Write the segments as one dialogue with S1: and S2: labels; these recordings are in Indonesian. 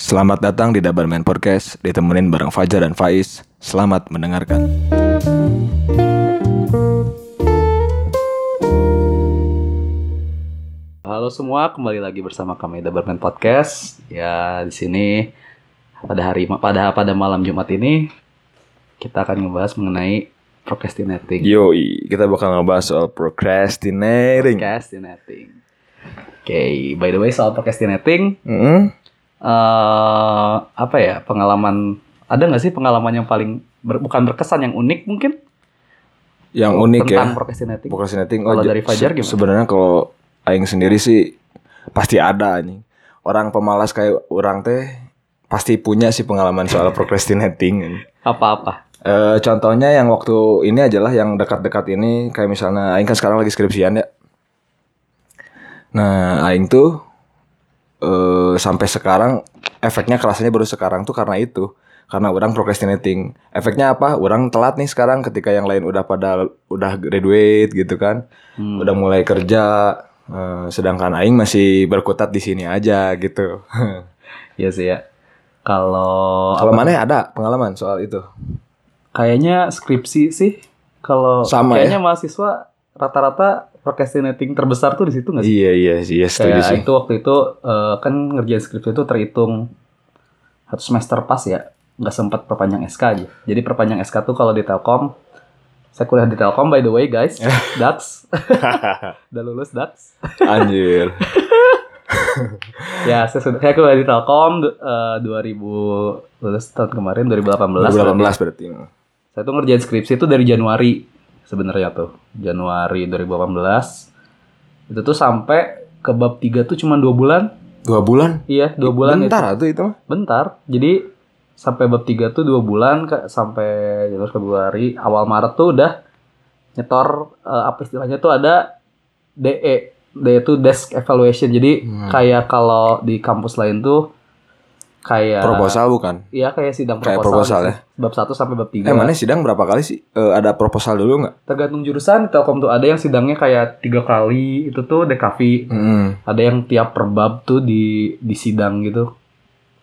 S1: Selamat datang di Dabar Man Podcast, ditemenin bareng Fajar dan Faiz. Selamat mendengarkan.
S2: Halo semua, kembali lagi bersama kami The Barman Podcast. Ya, di sini pada hari pada pada malam Jumat ini kita akan membahas mengenai
S1: Iya.
S2: procrastinating.
S1: Yoi, kita bakal ngebahas soal procrastinating.
S2: Procrastinating. Oke, by the way soal procrastinating,
S1: Mm-mm.
S2: eh apa ya pengalaman? Ada nggak sih pengalaman yang paling ber- bukan berkesan yang unik mungkin
S1: Yang unik
S2: tentang
S1: ya,
S2: procrastinating?
S1: procrastinating.
S2: Kalau
S1: ja-
S2: dari Fajar
S1: se-
S2: gimana?
S1: Sebenarnya kalau Aing sendiri sih pasti ada anjing. Orang pemalas kayak orang teh pasti punya sih pengalaman soal procrastinating.
S2: Apa-apa?
S1: Eh, contohnya yang waktu ini ajalah yang dekat-dekat ini kayak misalnya Aing kan sekarang lagi skripsian ya. Nah Aing tuh eh, sampai sekarang efeknya kerasanya baru sekarang tuh karena itu karena orang procrastinating. Efeknya apa? Orang telat nih sekarang ketika yang lain udah pada udah graduate gitu kan,
S2: Hmm.
S1: udah mulai kerja. Eh, sedangkan Aing masih berkutat di sini aja gitu.
S2: Iya sih ya. Kalau
S1: Kalau
S2: apa-
S1: mana ada pengalaman soal itu?
S2: kayaknya skripsi sih kalau
S1: Sama ya?
S2: kayaknya mahasiswa rata-rata procrastinating terbesar tuh di situ nggak sih?
S1: Iya iya iya setuju
S2: Kayak
S1: sih.
S2: itu waktu itu eh, kan ngerjain skripsi itu terhitung satu semester pas ya nggak sempat perpanjang SK aja. Jadi perpanjang SK tuh kalau di Telkom saya kuliah di Telkom by the way guys, Dax. Udah lulus Dax.
S1: Anjir.
S2: Ya, saya sudah saya kuliah di Telkom eh, 2000 lulus tahun kemarin 2018.
S1: 2018 berarti.
S2: Saya tuh ngerjain skripsi itu dari Januari sebenarnya tuh. Januari 2018. Itu tuh sampai ke bab 3 tuh cuma 2 bulan.
S1: Dua bulan?
S2: Iya, 2 bulan
S1: Eh,
S2: itu.
S1: Bentar tuh itu mah.
S2: Bentar. Jadi sampai bab 3 tuh 2 bulan Kak. sampai Januari Februari awal Maret tuh udah nyetor eh, apa istilahnya tuh ada E. DE. DE itu desk evaluation. Jadi
S1: Hmm.
S2: kayak kalau di kampus lain tuh kayak
S1: Proposal bukan?
S2: Iya kayak sidang proposal.
S1: Kayak proposal
S2: gitu.
S1: ya.
S2: Bab 1 sampai bab 3.
S1: Eh mana sidang berapa kali sih? Eh, ada proposal dulu nggak?
S2: tergantung jurusan di Telkom tuh ada yang sidangnya kayak tiga kali itu tuh dekavi
S1: Mm.
S2: ada yang tiap per bab tuh di di sidang gitu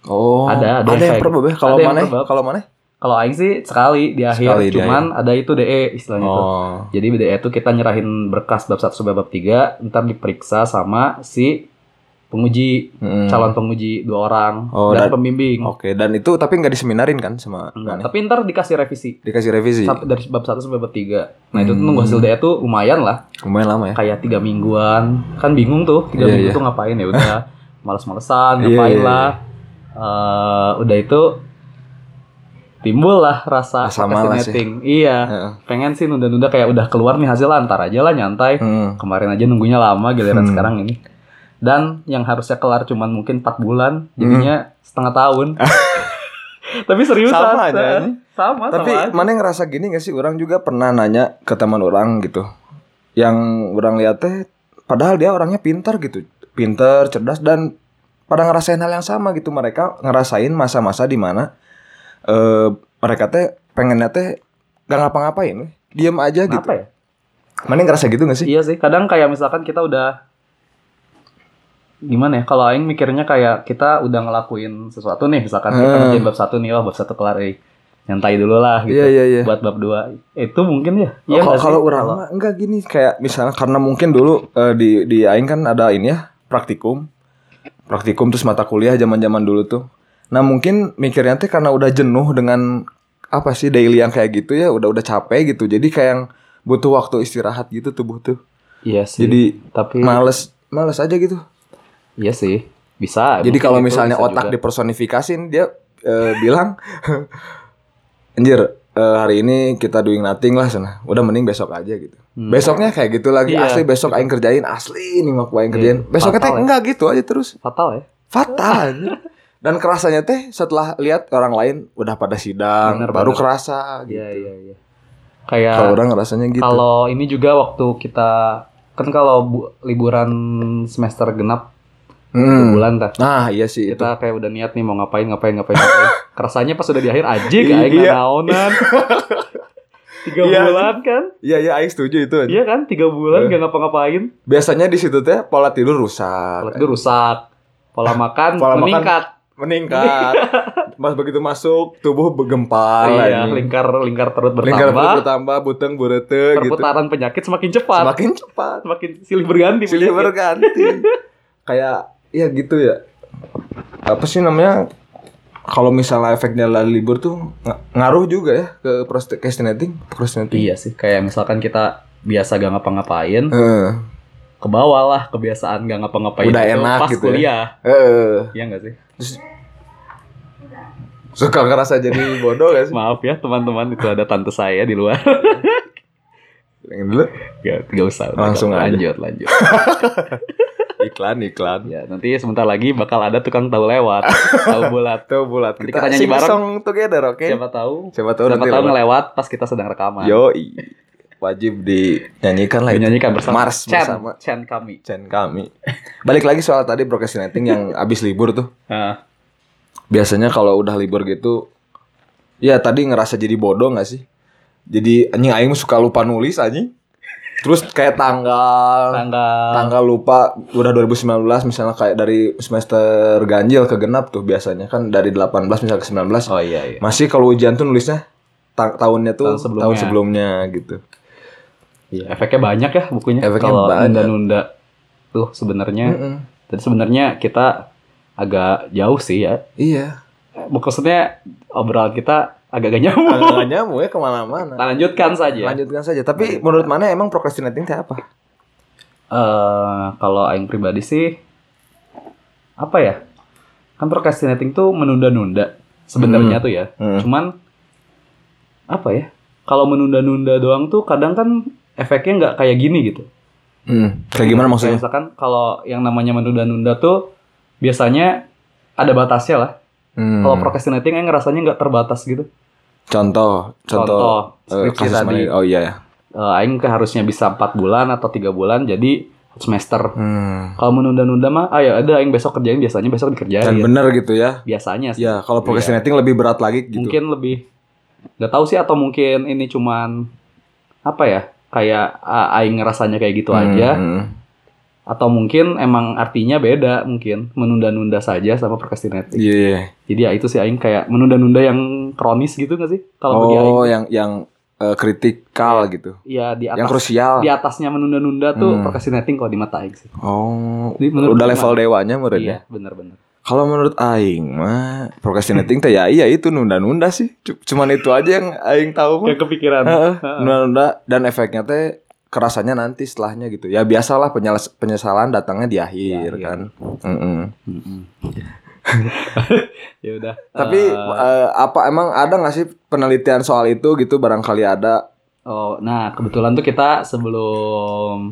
S1: Oh.
S2: Ada- ada
S1: yang
S2: yang kayak gitu.
S1: probab ya? Kalau
S2: Ada yang
S1: mana?
S2: probab.
S1: Kalau mana?
S2: kalau Aing sih sekali di akhir
S1: Sekali di
S2: cuman ada itu DE istilahnya tuh
S1: Oh.
S2: jadi DE itu kita nyerahin berkas bab 1 sampai bab 3 ntar diperiksa sama si penguji
S1: Mm.
S2: calon penguji dua orang
S1: Oh,
S2: dan,
S1: dan-
S2: pembimbing
S1: Oke, dan itu tapi nggak diseminarin kan sama
S2: Hmm. Enggak,
S1: mana?
S2: tapi ntar dikasih revisi
S1: Dikasih revisi.
S2: Sampai dari bab 1 sampai bab 3 nah itu tuh
S1: Hmm.
S2: nunggu hasil DE tuh lumayan lah
S1: Lumayan lama ya.
S2: kayak tiga mingguan kan bingung tuh tiga
S1: Iya,
S2: minggu
S1: iya.
S2: tuh ngapain ya udah males-malesan
S1: Iya,
S2: ngapain
S1: iya, iya.
S2: lah Eh, udah itu timbul lah rasa
S1: Rasa malas ya.
S2: procrastinating iya
S1: Heeh.
S2: pengen sih nunda-nunda kayak udah keluar nih hasil antar aja lah nyantai
S1: Mm.
S2: kemarin aja nunggunya lama giliran
S1: Hmm.
S2: sekarang ini dan yang harusnya kelar cuman mungkin 4 bulan jadinya setengah tahun tapi seriusan
S1: Hmm. Sama aja, ini.
S2: sama
S1: Tapi
S2: sama aja.
S1: mana yang ngerasa gini gak sih? Orang juga pernah nanya ke teman orang gitu. Yang orang lihat teh padahal dia orangnya pintar gitu. Pintar, cerdas dan pada ngerasain hal yang sama gitu. Mereka ngerasain masa-masa di mana eh mereka teh pengennya teh gak ngapa-ngapain. Diam aja gitu.
S2: Kenapa ya
S1: Mana yang ngerasa gitu gak sih?
S2: Iya sih, kadang kayak misalkan kita udah gimana ya? Kalau aing mikirnya kayak kita udah ngelakuin sesuatu nih, misalkan kita
S1: Hmm.
S2: ngerjain bab satu nih, wah bab satu kelar, eh. nyantai dulu lah gitu.
S1: Iya, iya, iya.
S2: Buat bab dua itu mungkin ya.
S1: Oh,
S2: Iya
S1: kalau
S2: nggak sih?
S1: kalau orang mah enggak gini kayak misalnya karena mungkin dulu eh, di di aing kan ada ini ya praktikum. Praktikum terus mata kuliah zaman-zaman dulu tuh. Nah, mungkin mikirnya teh karena udah jenuh dengan apa sih daily yang kayak gitu ya, udah udah capek gitu. Jadi kayak yang butuh waktu istirahat gitu tubuh tuh.
S2: Iya sih.
S1: Jadi
S2: tapi
S1: males males aja gitu.
S2: iya sih bisa.
S1: Jadi
S2: mungkin
S1: kalau
S2: itu
S1: misalnya
S2: bisa
S1: otak
S2: juga.
S1: dipersonifikasiin dia eh, bilang anjir eh, hari ini kita doing nothing lah sana. Udah mending besok aja gitu.
S2: Hmm.
S1: Besoknya kayak gitu lagi
S2: Iya.
S1: asli besok aing kerjain asli ini mah ku aing
S2: Iya,
S1: kerjain.
S2: fatal
S1: Besoknya teh
S2: ya.
S1: enggak gitu aja terus.
S2: fatal ya.
S1: Fatal. anjir. Dan kerasanya teh setelah lihat orang lain udah pada sidang
S2: Bener,
S1: baru
S2: bener.
S1: kerasa gitu.
S2: Iya iya iya. Kayak
S1: Kalau orang rasanya gitu.
S2: Kalau ini juga waktu kita kan kalau bu- liburan semester genap
S1: Hmm.
S2: bulan ta.
S1: Nah, iya sih itu.
S2: kita kayak udah niat nih mau ngapain ngapain ngapain ngapain kerasanya pas udah di akhir aja kayak
S1: Iya.
S2: naonan tiga
S1: Iya.
S2: bulan kan
S1: Iya, iya aing setuju itu. anjir.
S2: iya kan tiga bulan
S1: Eh.
S2: gak ngapa-ngapain
S1: Biasanya di situ teh pola tidur rusak.
S2: kalau itu rusak pola makan
S1: Pola makan
S2: meningkat
S1: meningkat. Mas begitu masuk tubuh bergempar
S2: iya,
S1: anjing.
S2: lingkar lingkar perut bertambah,
S1: Lingkar perut bertambah, buteng burete gitu.
S2: perputaran penyakit semakin cepat,
S1: Semakin cepat.
S2: semakin silih berganti
S1: Silih
S2: penyakit.
S1: berganti. Kayak ya gitu ya. Apa sih namanya? Kalau misalnya efeknya lari libur tuh ng- ngaruh juga ya ke procrastinating, procrastinating.
S2: Iya sih, kayak misalkan kita biasa gak ngapa-ngapain,
S1: Heeh.
S2: ke bawah lah kebiasaan gak ngapa-ngapain.
S1: Udah
S2: itu
S1: enak
S2: pas
S1: gitu ya.
S2: kuliah.
S1: Heeh.
S2: Iya gak sih?
S1: Terus suka ngerasa jadi bodoh gak sih?
S2: Maaf ya teman-teman, itu ada tante saya di luar.
S1: Yang dulu
S2: Gak, gak usah. udah,
S1: Langsung
S2: gak-
S1: aja.
S2: lanjut, lanjut.
S1: iklan iklan.
S2: ya, nanti sebentar lagi bakal ada tukang tahu lewat, tahu bulat.
S1: Tuh bulat
S2: Nanti
S1: kita
S2: kita nyanyi
S1: sing
S2: bareng.
S1: song together, oke?
S2: Siapa tahu?
S1: Siapa tahu
S2: Siapa
S1: nanti
S2: tahu
S1: lewat.
S2: ngelewat pas kita sedang rekaman.
S1: Yoi. wajib dinyanyikan lah. itu.
S2: Dinyanyikan bersama
S1: Mars
S2: Chan,
S1: bersama
S2: Chan kami.
S1: Chan kami. Balik lagi soal tadi procrastinating yang abis libur tuh.
S2: Ah,
S1: Biasanya kalau udah libur gitu, ya tadi ngerasa jadi bodoh nggak sih? Jadi anjing aing suka lupa nulis anjing. Terus kayak tanggal,
S2: tanggal
S1: tanggal lupa udah 2019 misalnya kayak dari semester ganjil ke genap tuh biasanya kan dari 18 misalnya ke 19
S2: Oh iya iya.
S1: masih kalau ujian tuh nulisnya ta- tahunnya tuh
S2: Tahun sebelumnya.
S1: tahun sebelumnya gitu
S2: Iya, efeknya banyak ya bukunya.
S1: Efeknya
S2: Kalau
S1: banyak.
S2: nunda-nunda tuh sebenarnya.
S1: Mm-mm.
S2: Jadi sebenarnya kita agak jauh sih ya.
S1: iya
S2: Maksudnya obrolan kita agak gak nyambung.
S1: anggarannya mau ya kemana-mana
S2: Kita lanjutkan saja.
S1: lanjutkan saja tapi menurut mana emang procrastinating itu apa
S2: Eh, kalau aing pribadi sih apa ya? Kan procrastinating tuh menunda-nunda sebenarnya
S1: Hmm.
S2: tuh ya. Cuman apa ya? Kalau menunda-nunda doang tuh kadang kan efeknya nggak kayak gini gitu.
S1: Hmm. kayak gimana maksudnya
S2: Kayak misalkan kalau yang namanya menunda-nunda tuh biasanya ada batasnya lah.
S1: Hmm.
S2: Kalau procrastinating aing ngerasanya nggak terbatas gitu.
S1: contoh contoh,
S2: Contoh,
S1: eh,
S2: skripsi
S1: kasus
S2: tadi.
S1: mana- oh iya ya
S2: Eh, aing harusnya bisa empat bulan atau tiga bulan jadi semester.
S1: hmm.
S2: Kalau menunda-nunda mah, ah ya ada aing besok kerjain biasanya
S1: dan
S2: besok dikerjain.
S1: bener gitu ya
S2: biasanya sih.
S1: ya kalau procrastinating lebih berat lagi gitu
S2: Iya. Mungkin lebih nggak tahu sih atau mungkin ini cuman apa ya? Kayak ah, aing ngerasanya kayak gitu aja
S1: Hmm.
S2: atau mungkin emang artinya beda mungkin menunda-nunda saja sama procrastinating.
S1: iya iya.
S2: Jadi ya itu sih aing kayak menunda-nunda yang kronis gitu nggak sih? Kalau bagi aing
S1: oh, yang yang eh, kritikal gitu.
S2: ya di
S1: Yang
S2: atas
S1: krusial.
S2: di atasnya menunda-nunda tuh
S1: Hmm.
S2: procrastinating kalau di mata aing sih.
S1: Oh,
S2: Jadi menurut
S1: udah
S2: gimana?
S1: level ya? dewanya menurutnya.
S2: Iya, benar-benar.
S1: Kalau menurut aing mah procrastinating teh ya iya itu nunda-nunda sih. C- Cuman itu aja yang aing tahu mah.
S2: Yang kepikiran.
S1: Heeh, Nunda-nunda dan efeknya teh kerasanya nanti setelahnya gitu. Ya biasalah penyales- penyesalan datangnya di akhir
S2: akhir.
S1: kan. Mm-mm.
S2: Mm-mm. ya udah.
S1: Tapi
S2: Eh,
S1: eh, apa emang ada nggak sih penelitian soal itu gitu barangkali ada.
S2: Oh, nah kebetulan tuh kita sebelum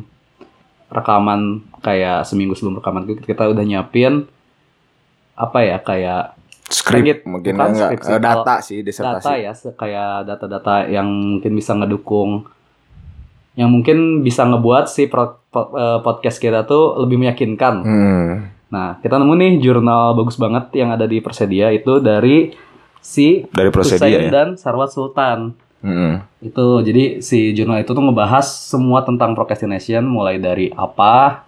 S2: rekaman kayak seminggu sebelum rekaman tuh kita udah nyiapin apa ya kayak
S1: Skrip
S2: Skrip,
S1: mungkin
S2: bukan
S1: enggak
S2: skrip sih,
S1: Eh, data sih
S2: data
S1: disertasi.
S2: ya se- kayak data-data yang mungkin bisa ngedukung yang mungkin bisa ngebuat si pro- po- eh, podcast kita tuh lebih meyakinkan.
S1: Hmm.
S2: Nah, kita nemu nih jurnal bagus banget yang ada di Persedia itu dari si
S1: Dari
S2: Hussein
S1: prosedur ya.
S2: dan Sarwat Sultan.
S1: Mm-mm.
S2: itu jadi si jurnal itu tuh ngebahas semua tentang procrastination mulai dari apa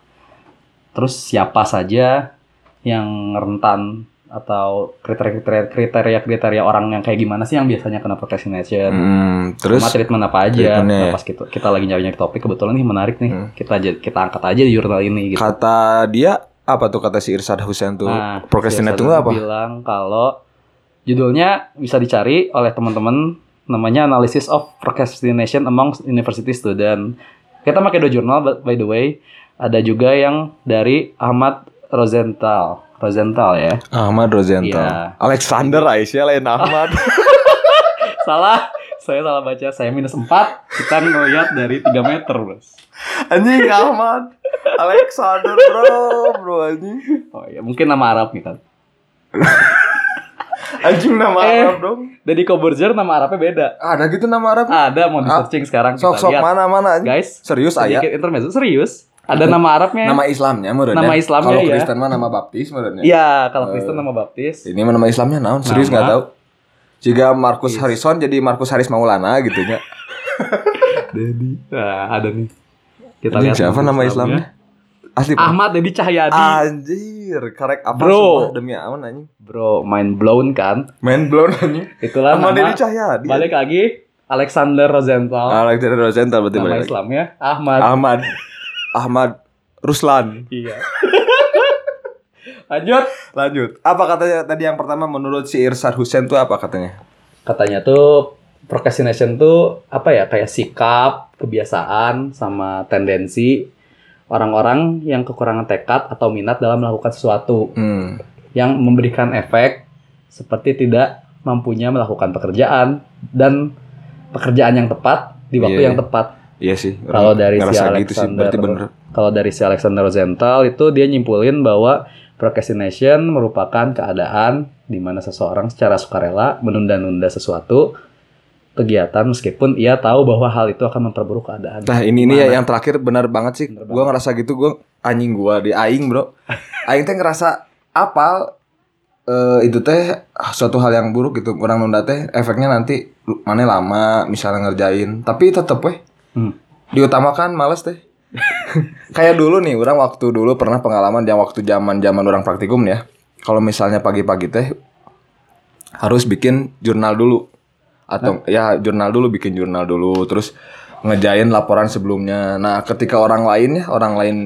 S2: terus siapa saja yang rentan atau kriteria-kriteria kriteria-kriteria orang yang kayak gimana sih yang biasanya kena procrastination
S1: Mm, terus
S2: sama treatment apa aja
S1: treatmentnya
S2: nah,
S1: ya.
S2: pas kita, kita lagi nyari-nyari topik kebetulan nih menarik nih
S1: Hmm.
S2: kita aja kita angkat aja di jurnal ini gitu
S1: kata dia apa tuh kata si Irsyad Husain tuh?
S2: nah
S1: procrastinate
S2: si
S1: itu gitu. apa?
S2: bilang kalau judulnya bisa dicari oleh teman-teman namanya analysis of procrastination among university student kita pakai dua jurnal by- by the way ada juga yang dari Ahmad Rosenthal Rosenthal ya
S1: Ahmad Rosenthal.
S2: Iya.
S1: Alexander Aisyah lain Ahmad.
S2: salah saya salah baca saya minus 4 kita ngelihat dari 3 meter bos
S1: anjing Ahmad. Alexander bro, bro anjing.
S2: oh ya mungkin nama Arab gitu
S1: Anjing nama
S2: Eh.
S1: Arab dong.
S2: Jadi Koborger nama Arabnya beda
S1: Ada gitu nama Arab.
S2: ada mau di
S1: Ah,
S2: searching sekarang kita
S1: Sok-sok
S2: lihat
S1: mana-mana anjing.
S2: guys
S1: Serius aya.
S2: sedikit intermezzo serius ada nama Arabnya
S1: Nama Islamnya menurutnya.
S2: Nama Islamnya,
S1: Kalau
S2: ya.
S1: Kristen mah nama baptis menurutnya.
S2: Iya, kalau Kristen nama baptis.
S1: Ini mah nama Islamnya naon? Serius
S2: Nama.
S1: nggak tahu. Jika Markus Harrison jadi Markus Haris Maulana gitu ya.
S2: Dedi. Nah, ada nih. Kita
S1: Anjing,
S2: lihat ya.
S1: siapa
S2: nama
S1: nama Ah.
S2: Islamnya.
S1: Asli Pak.
S2: Ahmad Dedi Cahyadi.
S1: Anjir, karek apa
S2: Bro.
S1: sumpah demi awan anjing.
S2: Bro, mind blown kan?
S1: Main blown anjing.
S2: Itulah
S1: Sama
S2: nama.
S1: Dedi Cahyadi. Ah,
S2: Balik lagi Alexander Rosenthal.
S1: Alexander Rosenthal berarti
S2: nama
S1: balik. lagi. Ah.
S2: Islamnya Ahmad.
S1: Ahmad Ahmad Ruslan.
S2: Iya. Lanjut.
S1: Lanjut. Apa katanya tadi yang pertama menurut si Irsad Hussein tuh apa katanya?
S2: Katanya tuh procrastination tuh apa ya kayak sikap, kebiasaan sama tendensi orang-orang yang kekurangan tekad atau minat dalam melakukan sesuatu
S1: Hmm.
S2: yang memberikan efek seperti tidak mampunya melakukan pekerjaan dan pekerjaan yang tepat di waktu
S1: Iya.
S2: yang tepat.
S1: Iya sih.
S2: Kalau dari si
S1: ngerasa gitu sih,
S2: Alexander-
S1: berarti bener.
S2: Kalau dari si Alexander Rosenthal itu dia nyimpulin bahwa procrastination merupakan keadaan di mana seseorang secara sukarela menunda-nunda sesuatu kegiatan meskipun ia tahu bahwa hal itu akan memperburuk keadaan.
S1: Nah ini ini
S2: Gimana?
S1: ya yang terakhir benar banget sih.
S2: Bener
S1: Gue ngerasa gitu gue anjing gue di aing bro. Aing teh ngerasa apa eh, itu teh suatu hal yang buruk gitu. Orang nunda teh efeknya nanti lu- mana lama misalnya ngerjain. Tapi tetep weh
S2: Hmm.
S1: diutamakan males teh. Kayak dulu nih orang waktu dulu pernah pengalaman yang waktu zaman zaman orang praktikum nih ya. Kalau misalnya pagi-pagi teh harus bikin jurnal dulu atau ya jurnal dulu bikin jurnal dulu terus ngejain laporan sebelumnya nah ketika orang lain ya orang lain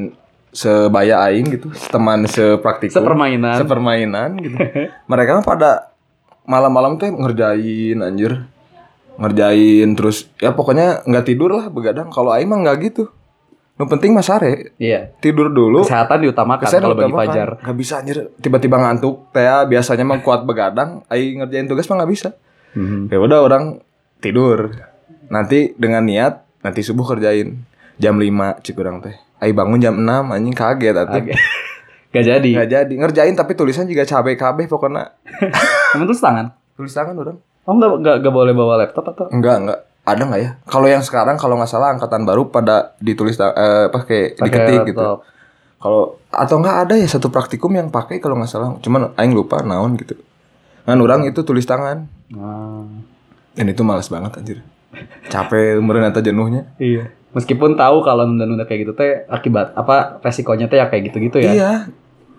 S1: sebaya aing gitu teman sepraktikum
S2: Sepermainan.
S1: sepermainan gitu mereka mah pada malam-malam tuh ngerjain anjir ngerjain terus ya pokoknya nggak tidur lah begadang kalau aing mah nggak gitu yang penting mas sare
S2: Iya.
S1: tidur dulu
S2: Kesehatan diutamakan kalau bagi Fajar.
S1: Gak bisa anjir Tiba-tiba ngantuk Teh biasanya mah kuat begadang Aing ngerjain tugas mah gak bisa
S2: Mhm.
S1: Ya udah orang tidur Nanti dengan niat Nanti subuh kerjain Jam 5 cik orang teh Aing bangun jam 6 Anjing kaget atuh
S2: Oke. Gak jadi.
S1: Gak jadi Ngerjain tapi tulisan juga cabe-cabe pokoknya
S2: Emang terus tangan?
S1: Tulis tangan orang
S2: Oh nggak nggak nggak boleh bawa laptop atau?
S1: Enggak enggak ada nggak ya? Kalau yang sekarang kalau nggak salah angkatan baru pada ditulis ta- eh, pakai diketik gitu.
S2: laptop.
S1: kalau atau nggak ada ya satu praktikum yang pakai kalau nggak salah cuman aing lupa naon gitu kan orang itu tulis tangan
S2: Ah,
S1: dan itu malas banget anjir capek meureun eta jenuhnya
S2: iya. Meskipun tahu kalau nunda-nunda kayak gitu teh akibat apa resikonya teh ya kayak gitu-gitu ya.
S1: iya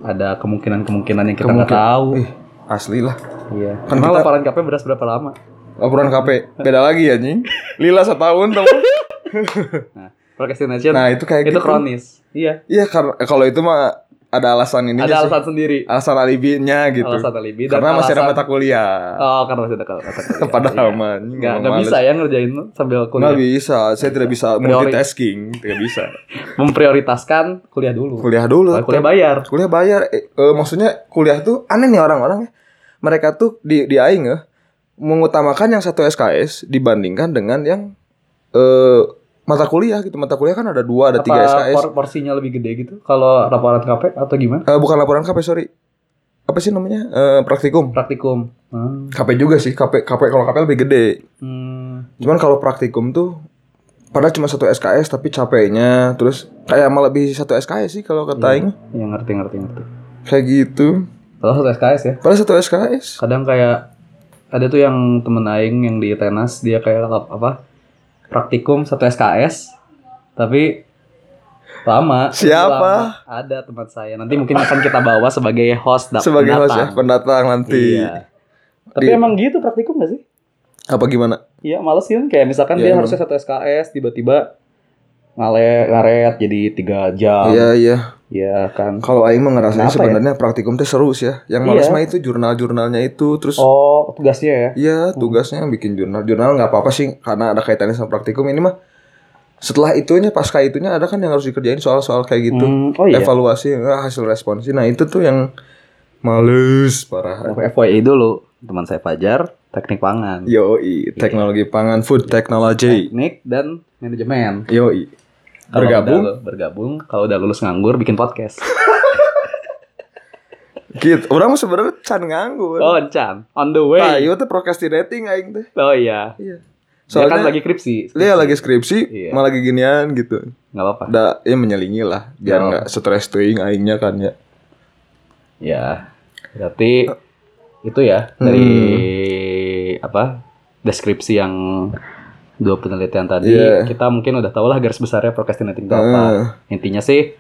S2: Ada kemungkinan-kemungkinan yang kita nggak
S1: Kemungkin-
S2: tahu.
S1: ih asli lah
S2: Iya.
S1: Kan
S2: Emang
S1: kita-
S2: laporan KP beras berapa lama?
S1: laporan KP beda lagi anjing lila setahun tuh
S2: Nah, procrastination
S1: nah itu kayak
S2: itu
S1: gitu
S2: kronis. Iya.
S1: iya karena kalau itu mah ada alasan ini
S2: Ada alasan sendiri.
S1: alasan alibinya gitu
S2: Alasan alibi dan
S1: karena masih ada
S2: alasan-
S1: mata kuliah
S2: Oh, karena masih ada kata
S1: padahal mah anjing, emang
S2: iya. Nggak, nggak
S1: males.
S2: bisa ya ngerjain sambil
S1: nggak
S2: kuliah.
S1: bisa saya tidak bisa
S2: Priori-
S1: multitasking tidak bisa
S2: Memprioritaskan kuliah dulu.
S1: kuliah dulu
S2: Kalau kuliah bayar.
S1: kuliah bayar Eh, eh, maksudnya kuliah tuh aneh nih orang-orang ya. mereka tuh di di aing ya mengutamakan yang satu SKS dibandingkan dengan yang eh mata kuliah gitu mata kuliah kan ada dua ada tiga
S2: Apa
S1: SKS
S2: por- porsinya lebih gede gitu kalau laporan KP atau gimana?
S1: Eh, bukan laporan KP sorry apa sih namanya Eh, praktikum
S2: Praktikum. Hmm.
S1: KP juga sih KP KP kalau KP lebih gede
S2: Hmm.
S1: cuman kalau praktikum tuh padahal cuma satu SKS tapi capeknya terus kayak malah lebih satu SKS sih kalau kata
S2: Iya.
S1: aing
S2: Ya ngerti ngerti ngerti.
S1: kayak gitu
S2: Kalau satu SKS ya.
S1: padahal satu SKS
S2: Kadang kayak ada tuh yang temen aing yang di Tenas dia kayak lap- apa praktikum satu SKS tapi lama.
S1: Siapa?
S2: Lama. Ada teman saya. Nanti mungkin akan kita bawa sebagai host dap-
S1: sebagai host ya
S2: pendatang.
S1: pendatang nanti
S2: Iya. Tapi
S1: Di-
S2: emang gitu praktikum gak sih?
S1: apa gimana
S2: Iya males kan kayak misalkan
S1: Iya,
S2: dia
S1: emang.
S2: harusnya satu SKS tiba-tiba ngaret ngaret jadi tiga jam.
S1: iya iya
S2: Iya kan.
S1: kalau Aing mah ngerasanya
S2: Kenapa ya?
S1: sebenarnya praktikum teh seru sih ya yang males
S2: Iya.
S1: mah itu jurnal-jurnalnya itu terus
S2: Oh tugasnya ya.
S1: Iya tugasnya bikin jurnal jurnal nggak apa-apa sih karena ada kaitannya sama praktikum ini mah setelah itunya pasca itunya ada kan yang harus dikerjain soal-soal kayak gitu
S2: Hmm, oh iya.
S1: evaluasi eh, hasil responsi nah itu tuh yang males parah
S2: FYI dulu teman saya Fajar teknik pangan
S1: yoi
S2: Iya.
S1: teknologi pangan food technology
S2: teknik dan manajemen
S1: yoi
S2: Kalau
S1: bergabung
S2: udah- bergabung kalau udah lulus nganggur bikin podcast
S1: gitu orang mah sebenarnya can nganggur
S2: oh Chan on the way
S1: Tayo teh procrastinating aing teh
S2: oh iya
S1: Iya.
S2: soalnya kan
S1: Soalnya
S2: lagi skripsi
S1: dia lagi skripsi,
S2: Iya.
S1: malah lagi ginian gitu.
S2: nggak apa-apa
S1: Ada ya menyelingi lah, biar
S2: Iya.
S1: nggak stress tuing aingnya kan ya. Iya.
S2: ya berarti itu ya dari
S1: Hmm.
S2: apa deskripsi yang dua penelitian tadi
S1: Iya.
S2: kita mungkin udah tau lah garis besarnya procrastinating itu apa
S1: Heeh.
S2: intinya sih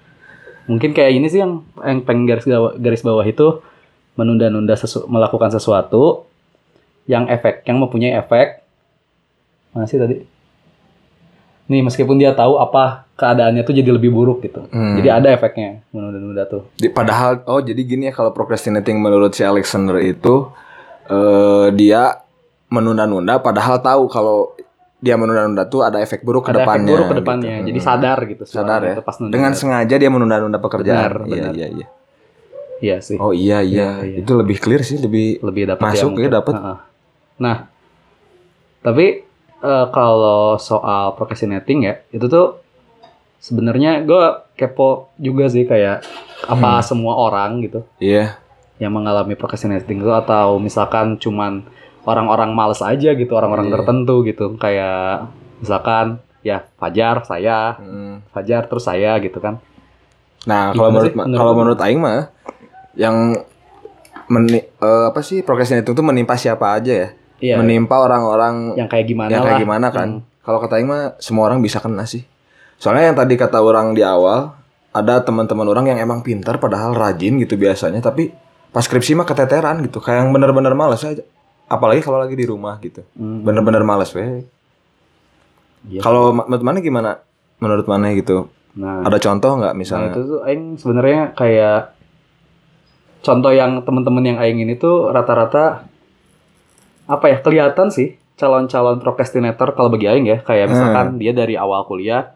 S2: mungkin kayak ini sih yang yang pengen garis gawa- garis bawah itu menunda-nunda sesu- melakukan sesuatu yang efek yang mempunyai efek mana sih tadi nih meskipun dia tahu apa keadaannya tuh jadi lebih buruk gitu
S1: Hmm.
S2: jadi ada efeknya menunda-nunda tuh
S1: Di- padahal oh jadi gini ya kalau procrastinating menurut si Alexander itu eh, dia menunda-nunda padahal tahu kalau dia menunda-nunda tuh ada efek buruk ke
S2: ada efek
S1: depannya.
S2: buruk ke depannya
S1: gitu.
S2: jadi
S1: Mm.
S2: sadar gitu
S1: Sadar
S2: suaranya
S1: ya.
S2: tuh pas nunda-nunda.
S1: dengan sengaja dia menunda-nunda pekerjaan.
S2: Benar,
S1: iya,
S2: benar.
S1: iya, iya.
S2: iya sih
S1: Oh iya iya.
S2: Iya, iya.
S1: Itu lebih clear sih, lebih
S2: lebih dapat
S1: Masuk ya,
S2: mungkin.
S1: dapat.
S2: Heeh. Nah, tapi eh, kalau soal procrastinating ya, itu tuh sebenarnya gue kepo juga sih kayak
S1: Hmm.
S2: apa semua orang gitu
S1: iya.
S2: yang mengalami procrastinating itu atau misalkan cuman orang-orang males aja gitu, orang-orang
S1: Iya.
S2: tertentu gitu, kayak misalkan ya Fajar saya,
S1: Mm.
S2: Fajar terus saya gitu kan.
S1: Nah,
S2: Gimana
S1: kalau menurut
S2: sih menurut
S1: kalau
S2: lu?
S1: menurut aing mah yang meni, eh, apa sih procrastinating itu menimpa siapa aja ya?
S2: Iya.
S1: Menimpa orang-orang
S2: yang kayak gimana
S1: yang
S2: lah. Hmm.
S1: kayak gimana kan kalau kata Aing mah semua orang bisa kena sih soalnya yang tadi kata orang di awal ada teman-teman orang yang emang pintar padahal rajin gitu biasanya tapi pas skripsi mah keteteran gitu kayak yang bener-bener males aja apalagi kalau lagi di rumah gitu
S2: Hmm.
S1: bener-bener males weh
S2: Iya.
S1: kalau ma- menurut mana gimana menurut mana gitu
S2: Nah,
S1: ada contoh nggak
S2: Nah,
S1: misalnya
S2: itu tuh aing sebenarnya kayak contoh yang teman-teman yang aing ini tuh rata-rata apa ya kelihatan sih calon-calon procrastinator kalau bagi aing ya
S1: Hmm.
S2: kayak misalkan dia dari awal kuliah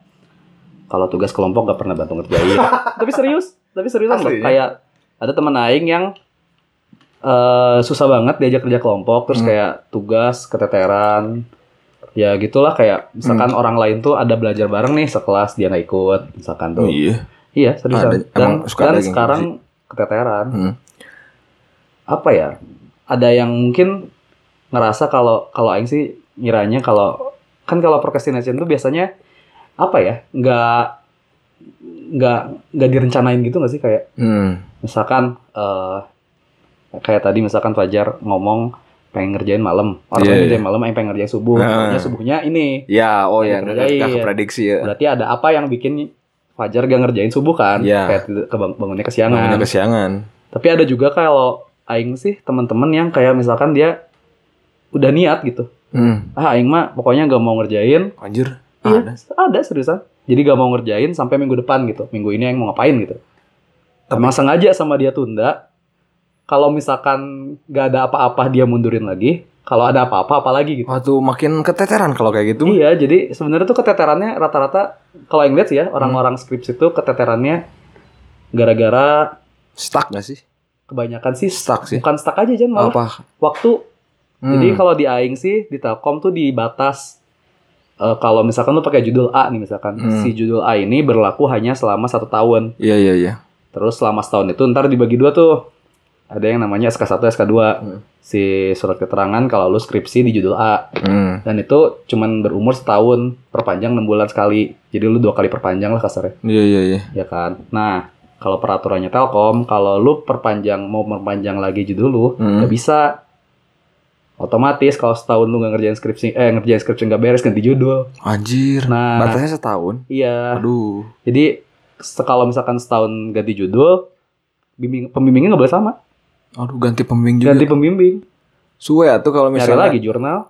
S2: kalau tugas kelompok gak pernah bantu ngerjain. tapi serius, tapi serius
S1: Asli, ya?
S2: kayak ada teman aing yang eh, susah banget diajak kerja kelompok terus
S1: Hmm.
S2: kayak tugas keteteran ya gitulah kayak misalkan
S1: Hmm.
S2: orang lain tuh ada belajar bareng nih sekelas dia nggak ikut misalkan tuh
S1: iya
S2: Iya, seriusan.
S1: Ada-
S2: dan
S1: emang suka
S2: dan
S1: ada geng
S2: sekarang keteteran.
S1: Hmm.
S2: Apa ya? Ada yang mungkin ngerasa kalau kalau aing sih ngiranya kalau kan kalau procrastination tuh biasanya apa ya? Nggak nggak nggak direncanain gitu nggak sih kayak
S1: hmm.
S2: misalkan eh kayak tadi misalkan Fajar ngomong pengen ngerjain malam, orang
S1: Iya,
S2: lain
S1: iya.
S2: ngerjain malam, aing pengen ngerjain subuh,
S1: Nah.
S2: Pokoknya subuhnya ini.
S1: ya oh ya
S2: Yang
S1: nggak nggak
S2: kerjain.
S1: keprediksi ya
S2: Berarti ada apa yang bikin Fajar gak ngerjain subuh kan?
S1: Iya.
S2: Kayak tidur- kebang- bangunnya
S1: namanya
S2: kesiangan.
S1: kesiangan
S2: Tapi ada juga kalau aing sih teman-teman yang kayak misalkan dia udah niat gitu.
S1: hmm.
S2: Ah aing mah pokoknya gak mau ngerjain.
S1: anjir ada
S2: Iya, ada seriusan. Jadi gak mau ngerjain sampai minggu depan gitu. Minggu ini yang mau ngapain gitu.
S1: Tapi-
S2: Emang sengaja sama dia tunda. Kalau misalkan gak ada apa-apa dia mundurin lagi. Kalau ada apa-apa apalagi gitu.
S1: Waduh, makin keteteran kalau kayak gitu
S2: Iya, jadi sebenarnya tuh keteterannya rata-rata kalau yang lihat sih ya orang-orang
S1: Hmm.
S2: skripsi tuh keteterannya gara-gara
S1: stuck gak sih
S2: kebanyakan sih
S1: stuck sih
S2: bukan stuck aja Jan malah
S1: apa
S2: waktu
S1: Hmm.
S2: Jadi kalau di Aing sih di Telkom tuh dibatas eh, kalau misalkan lu pakai judul A nih misalkan
S1: Hmm.
S2: si judul A ini berlaku hanya selama satu tahun.
S1: Iya iya iya.
S2: Terus selama setahun itu ntar dibagi dua tuh ada yang namanya SK1, SK2.
S1: Hmm.
S2: Si surat keterangan kalau lu skripsi di judul A
S1: Hmm.
S2: dan itu cuman berumur setahun perpanjang enam bulan sekali. Jadi lu dua kali perpanjang lah kasarnya,
S1: Iya iya iya.
S2: ya kan? Nah kalau peraturannya Telkom kalau lu perpanjang mau perpanjang lagi judul lu
S1: Hmm.
S2: nggak bisa otomatis kalau setahun lu nggak ngerjain skripsi eh ngerjain skripsi nggak beres ganti judul
S1: Anjir.
S2: nah
S1: Batasnya setahun.
S2: iya
S1: Aduh.
S2: jadi se- kalau misalkan setahun ganti judul bimbing, pembimbingnya nggak boleh sama
S1: Aduh ganti pembimbing juga.
S2: ganti pembimbing
S1: Suwe atuh kalau
S2: nyari
S1: misalnya.
S2: lagi jurnal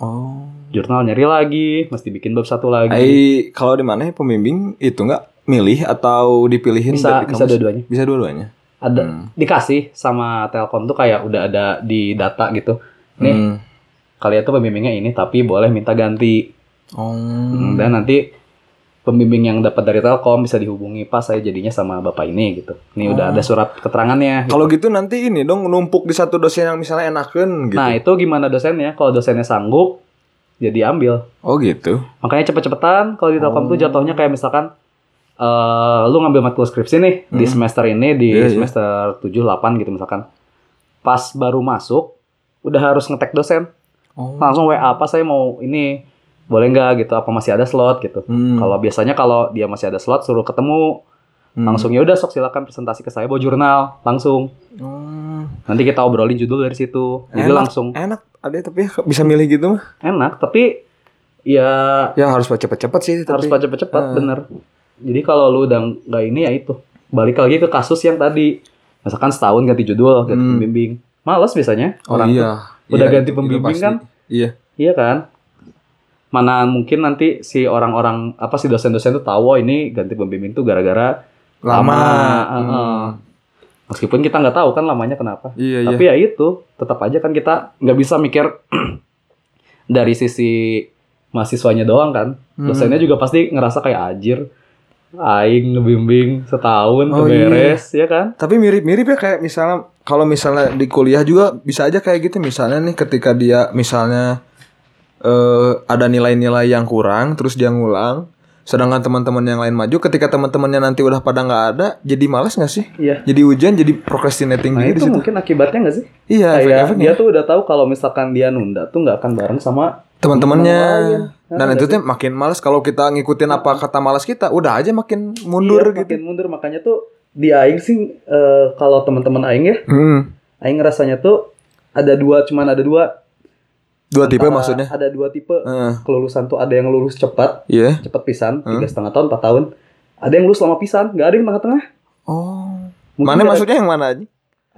S1: Oh.
S2: jurnal nyari lagi mesti bikin bab satu lagi
S1: Ai kalau di mana ya pembimbing itu nggak milih atau dipilihin
S2: bisa
S1: dari
S2: bisa
S1: kampus?
S2: dua-duanya
S1: Bisa dua-duanya.
S2: ada
S1: Hmm.
S2: dikasih sama telkom tuh kayak udah ada di data gitu Nih.
S1: Hmm.
S2: kalian tuh pembimbingnya ini tapi boleh minta ganti
S1: Oh.
S2: Hmm, Dan nanti pembimbing yang dapat dari Telkom bisa dihubungi pas saya jadinya sama bapak ini gitu. Ini
S1: Oh.
S2: udah ada surat keterangannya.
S1: Kalau gitu nanti ini dong numpuk di satu dosen yang misalnya enakan gitu.
S2: Nah itu gimana dosennya? Kalau dosennya sanggup, ya diambil.
S1: Oh gitu.
S2: Makanya cepet-cepetan kalau di Telkom
S1: Oh.
S2: tuh jatuhnya kayak misalkan eh lu ngambil matkul skripsi nih di
S1: Hmm.
S2: semester ini di
S1: Iya, iya.
S2: semester 7 8 gitu misalkan. Pas baru masuk udah harus ngetek dosen,
S1: Oh.
S2: langsung WA apa saya mau ini boleh nggak gitu apa masih ada slot gitu.
S1: Hmm.
S2: Kalau biasanya kalau dia masih ada slot suruh ketemu
S1: Hmm.
S2: langsung ya udah sok silakan presentasi ke saya bawa jurnal langsung
S1: Hmm.
S2: nanti kita obrolin judul dari situ jadi
S1: Enak.
S2: langsung
S1: Enak ada tapi ya, bisa milih gitu mah.
S2: enak tapi ya
S1: Ya harus cepet-cepet sih.
S2: harus
S1: tapi.
S2: cepet-cepet
S1: eh.
S2: bener jadi kalau lu udah nggak ini ya itu balik lagi ke kasus yang tadi misalkan setahun ganti judul ganti
S1: Hmm.
S2: pembimbing males biasanya
S1: Oh
S2: orang
S1: iya.
S2: udah
S1: Iya,
S2: ganti
S1: itu
S2: pembimbing
S1: pasti.
S2: kan?
S1: Iya.
S2: Iya kan? Mana mungkin nanti si orang-orang apa si dosen-dosen tuh tahu "Oh, ini ganti pembimbing tuh gara-gara
S1: Lama.
S2: Heeh.
S1: Hmm.
S2: meskipun kita nggak tahu kan lamanya kenapa.
S1: Iya, iya.
S2: Tapi ya itu, tetap aja kan kita nggak bisa mikir dari sisi mahasiswanya doang kan.
S1: Hmm.
S2: Dosennya juga pasti ngerasa kayak anjir aing ngebimbing setahun
S1: Oh, iya.
S2: beres ya kan?
S1: Tapi mirip-mirip ya kayak misalnya kalau misalnya di kuliah juga bisa aja kayak gitu misalnya nih ketika dia misalnya eh ada nilai-nilai yang kurang terus dia ngulang sedangkan teman-teman yang lain maju ketika teman-temannya nanti udah pada nggak ada jadi malas nggak sih?
S2: Iya.
S1: Jadi hujan jadi procrastinating gitu
S2: Nah,
S1: di
S2: itu
S1: situ.
S2: mungkin akibatnya nggak sih?
S1: Iya,
S2: Kayak
S1: efek-efeknya.
S2: dia tuh udah tahu kalau misalkan dia nunda tuh nggak akan bareng sama
S1: teman-temannya
S2: teman-teman lain.
S1: dan
S2: Nah, Hmm.
S1: itu tuh makin malas kalau kita ngikutin apa kata malas kita udah aja makin mundur
S2: Iya,
S1: gitu.
S2: makin mundur makanya tuh di aing sih eh, kalau teman-teman aing ya
S1: Hmm.
S2: aing rasanya tuh ada dua cuman ada dua
S1: Dua tipe
S2: Antara
S1: maksudnya.
S2: ada dua tipe
S1: Heeh.
S2: kelulusan tuh ada yang lulus cepat
S1: Iya.
S2: cepat pisan
S1: Hmm.
S2: tiga setengah tahun empat tahun ada yang lulus lama pisan nggak ada yang tengah-tengah
S1: Oh.
S2: Mungkin
S1: mana
S2: ada-
S1: maksudnya yang mana aja?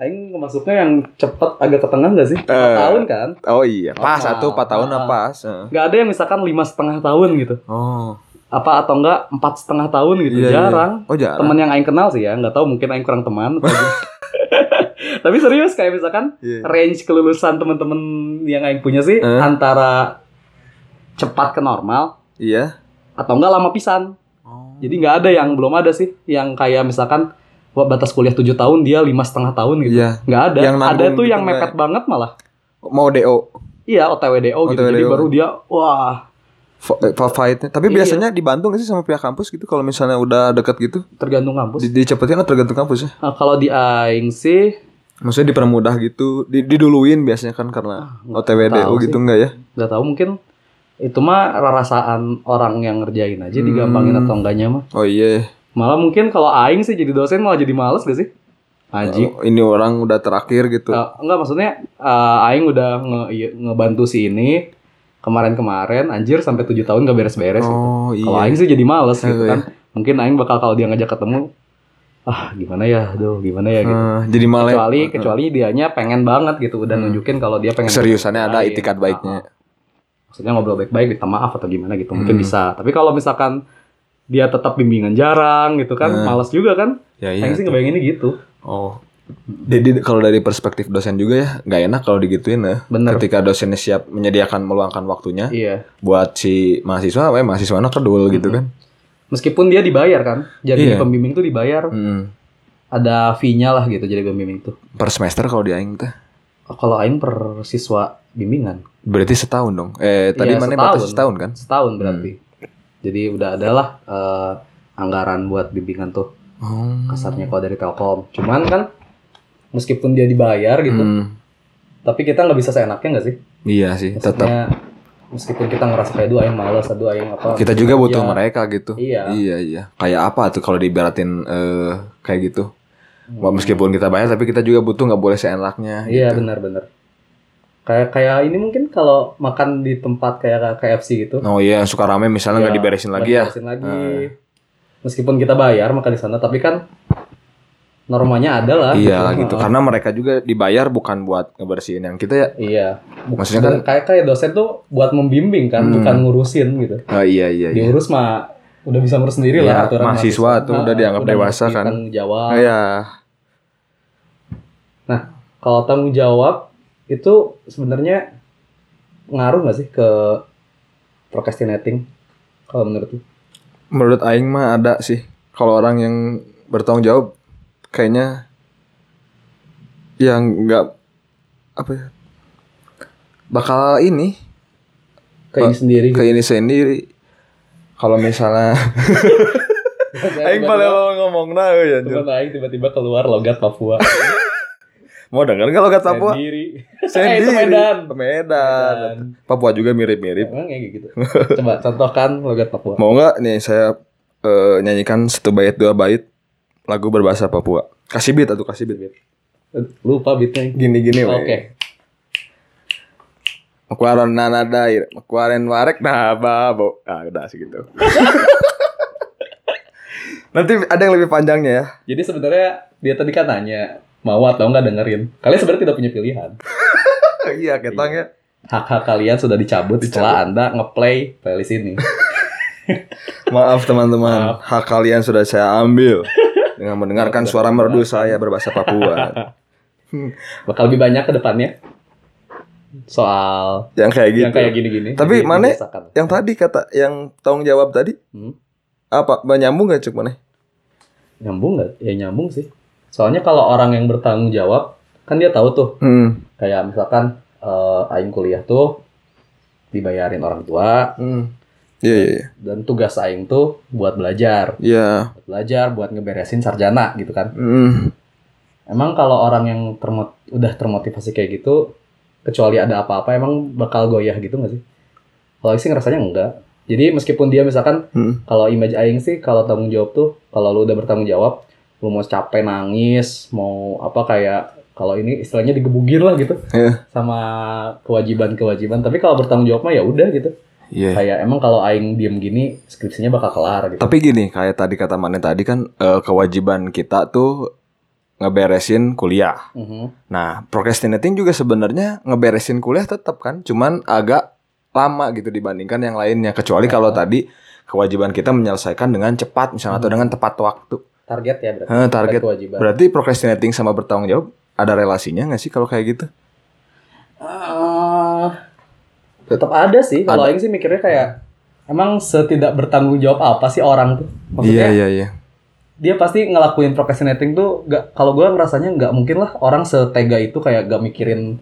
S2: aing masuknya yang cepat agak ke tengah nggak sih empat
S1: Eh.
S2: tahun kan
S1: Oh iya, pas
S2: Normal.
S1: satu empat tahun lah
S2: Ah.
S1: pas. eh. Heeh.
S2: nggak ada yang misalkan lima setengah tahun gitu
S1: Oh,
S2: apa atau enggak empat setengah tahun gitu
S1: Iya, iya.
S2: jarang
S1: oh jarang.
S2: teman yang aing kenal sih ya nggak tahu mungkin aing kurang teman atau gimana. tapi serius kayak misalkan
S1: Iya.
S2: range kelulusan teman-teman yang aing punya sih
S1: Eh?
S2: antara cepat ke normal
S1: Iya.
S2: atau enggak lama pisan jadi nggak ada yang belum ada sih yang kayak misalkan wah, batas kuliah 7 tahun dia lima setengah tahun gitu
S1: Iya,
S2: nggak ada
S1: Yang
S2: ada
S1: nanggung
S2: tuh
S1: gitu
S2: yang
S1: nggak
S2: mepet banget malah
S1: mau DO
S2: iya otwdo gitu jadi
S1: OTWDO.
S2: baru dia wah
S1: F- eh, fight-nya. Tapi
S2: Iya.
S1: biasanya di Bandung nggak sih sama pihak kampus gitu kalau misalnya udah deket gitu,
S2: tergantung kampus
S1: di dicepetin atau tergantung kampus ya.
S2: Nah, kalau di aing sih
S1: Maksudnya dipermudah gitu, di- diduluin biasanya kan karena
S2: nggak
S1: OTW DO
S2: Ah, tahu
S1: gitu enggak ya?
S2: nggak tahu mungkin itu mah rasaan orang yang ngerjain aja digampangin atau enggaknya mah
S1: Oh iya.
S2: malah mungkin kalau aing sih jadi dosen malah jadi males gak sih anjing
S1: Oh, Ini orang udah terakhir gitu.
S2: Eh, enggak maksudnya eh, aing udah nge- iya, ngebantu si ini kemarin-kemarin anjir sampai tujuh tahun gak beres-beres gitu.
S1: Oh
S2: kalau
S1: iya.
S2: aing sih jadi males gitu
S1: Iya.
S2: kan mungkin aing bakal kalau dia ngajak ketemu ah gimana ya aduh gimana ya gitu
S1: Eh, jadi malah
S2: kecuali kecuali dianya pengen banget gitu udah nunjukin kalau dia pengen Ah,
S1: seriusannya Hmm. ada
S2: Lain.
S1: itikad baiknya.
S2: maksudnya ngobrol baik-baik minta maaf atau gimana gitu mungkin
S1: Hmm.
S2: bisa tapi kalau misalkan dia tetap bimbingan jarang gitu kan
S1: Hmm.
S2: malas juga kan
S1: Ya
S2: Aing sih ngebayanginnya gitu
S1: Oh. Jadi kalau dari perspektif dosen juga ya nggak enak kalau digituin ya.
S2: bener
S1: Ketika dosennya siap menyediakan meluangkan waktunya
S2: iya
S1: buat si mahasiswa, apa ya, mahasiswa anak kedul
S2: Mm-hmm.
S1: gitu kan.
S2: meskipun dia dibayar kan
S1: Iya.
S2: jadi pembimbing tuh dibayar
S1: Mm.
S2: ada fee-nya lah gitu jadi pembimbing tuh
S1: Per semester kalau di aing teh.
S2: Oh, kalau Aing per siswa bimbingan
S1: Berarti setahun dong. Eh tadi
S2: Iya,
S1: mana
S2: setahun.
S1: batas setahun kan?
S2: setahun berarti jadi udah adalah eh, anggaran buat bimbingan tuh
S1: Oh.
S2: kasarnya kalau dari Telkom cuman kan meskipun dia dibayar gitu
S1: Mm.
S2: tapi kita nggak bisa seenaknya nggak sih
S1: Iya sih, tetap
S2: Maksudnya, meskipun kita ngerasa kayak aduh aing males, aduh aing apa.
S1: kita juga butuh
S2: Iya,
S1: mereka gitu.
S2: Iya.
S1: Iya, iya. Kayak apa tuh kalau diibaratin eh kayak gitu. Wah, Meskipun kita bayar tapi kita juga butuh nggak boleh seenaknya
S2: Hmm. Iya,
S1: gitu.
S2: benar-benar. Kayak kayak ini mungkin kalau makan di tempat kayak KFC gitu.
S1: Oh iya, suka rame misalnya nggak
S2: Iya,
S1: diberesin lagi ya.
S2: batasin lagi. Meskipun kita bayar makan di sana, tapi kan normanya ada lah.
S1: Iya
S2: gitu.
S1: gitu karena mereka juga dibayar bukan buat ngebersihin yang kita ya.
S2: Iya.
S1: Maksudnya kan-
S2: kayak kayak dosen tuh buat membimbing kan,
S1: Hmm.
S2: bukan ngurusin gitu.
S1: Oh, iya iya iya.
S2: Diurus mah udah bisa ngurus sendiri
S1: Iya,
S2: lah aturan
S1: mahasiswa tuh udah dianggap dewasa
S2: ngerti
S1: kan.
S2: tanggung jawab.
S1: Iya.
S2: kalau tanggung jawab itu sebenarnya ngaruh nggak sih ke procrastinating kalau menurut lu?
S1: Menurut aing mah ada sih kalau orang yang bertanggung jawab kayaknya yang nggak apa ya bakal ini
S2: ke ini sendiri gitu.
S1: ke ini sendiri kalau misalnya aing paling
S2: tiba-tiba,
S1: lo ngomong nah ya
S2: teman Aing tiba-tiba keluar logat Papua
S1: mau denger kalau kata Papua
S2: sendiri Eh, itu
S1: sendiri
S2: Medan.
S1: Medan
S2: Dan-
S1: Papua juga mirip-mirip
S2: emang kayak gitu coba contohkan logat Papua
S1: Mau nggak nih saya eh, nyanyikan satu bait dua bait lagu berbahasa Papua. Kasih beat atau kasih beat.
S2: lupa beatnya
S1: Gini gini
S2: oke
S1: weh. Mekuaron nana dair, mekuaren warek nah babo. Ah udah segitu. gitu. Nanti ada yang lebih panjangnya ya.
S2: Jadi sebenarnya dia tadi kan nanya mau atau nggak dengerin. Kalian sebenarnya tidak punya pilihan.
S1: iya, ketang ya.
S2: Hak-hak kalian sudah dicabut, setelah Anda ngeplay playlist ini.
S1: Maaf teman-teman, hak kalian sudah saya ambil dengan mendengarkan suara merdu saya berbahasa Papua.
S2: Bakal lebih banyak ke depannya soal
S1: Yang kayak gitu.
S2: yang kayak gini-gini.
S1: Tapi
S2: Jadi
S1: mana-
S2: membiasakan.
S1: Yang tadi kata yang tanggung jawab tadi
S2: Hmm.
S1: apa menyambung ya? gak cuk mana?
S2: nyambung nggak? Ya nyambung sih. Soalnya kalau orang yang bertanggung jawab kan dia tahu tuh
S1: Hmm.
S2: kayak misalkan eh, aing kuliah tuh dibayarin orang tua
S1: Hmm. Iya iya iya.
S2: dan tugas aing tuh buat belajar,
S1: Iya.
S2: buat belajar, buat ngeberesin sarjana gitu kan.
S1: Hmm.
S2: Emang kalau orang yang termot udah termotivasi kayak gitu, kecuali ada apa-apa, emang bakal goyah gitu nggak sih? Kalau Aing sih ngerasanya enggak. Jadi meskipun dia misalkan
S1: Hmm.
S2: kalau image Aing sih kalau tanggung jawab tuh, kalau lu udah bertanggung jawab, lu mau capek nangis, mau apa kayak kalau ini istilahnya digebugin lah gitu
S1: Iya.
S2: sama kewajiban-kewajiban. Tapi kalau bertanggung jawab mah ya udah gitu.
S1: Iya.
S2: Kayak emang kalau Aing diem gini, skripsinya bakal kelar gitu.
S1: Tapi gini, kayak tadi kata Mane tadi kan eh, kewajiban kita tuh ngeberesin kuliah.
S2: Mhm.
S1: Nah, procrastinating juga sebenarnya ngeberesin kuliah tetap kan, cuman agak lama gitu dibandingkan yang lainnya. Kecuali kalau
S2: Ya.
S1: tadi kewajiban kita menyelesaikan dengan cepat misalnya
S2: Hmm.
S1: atau dengan tepat waktu.
S2: Target ya berarti.
S1: Eh, target.
S2: kewajiban.
S1: Berarti procrastinating sama bertanggung jawab ada relasinya nggak sih kalau kayak gitu?
S2: Eh, tetap ada sih kalau
S1: Ada.
S2: Aing sih mikirnya kayak emang setidak bertanggung jawab apa sih orang tuh maksudnya
S1: iya iya.
S2: dia pasti ngelakuin procrastinating tuh gak kalau gue ngerasanya nggak mungkin lah orang setega itu kayak gak mikirin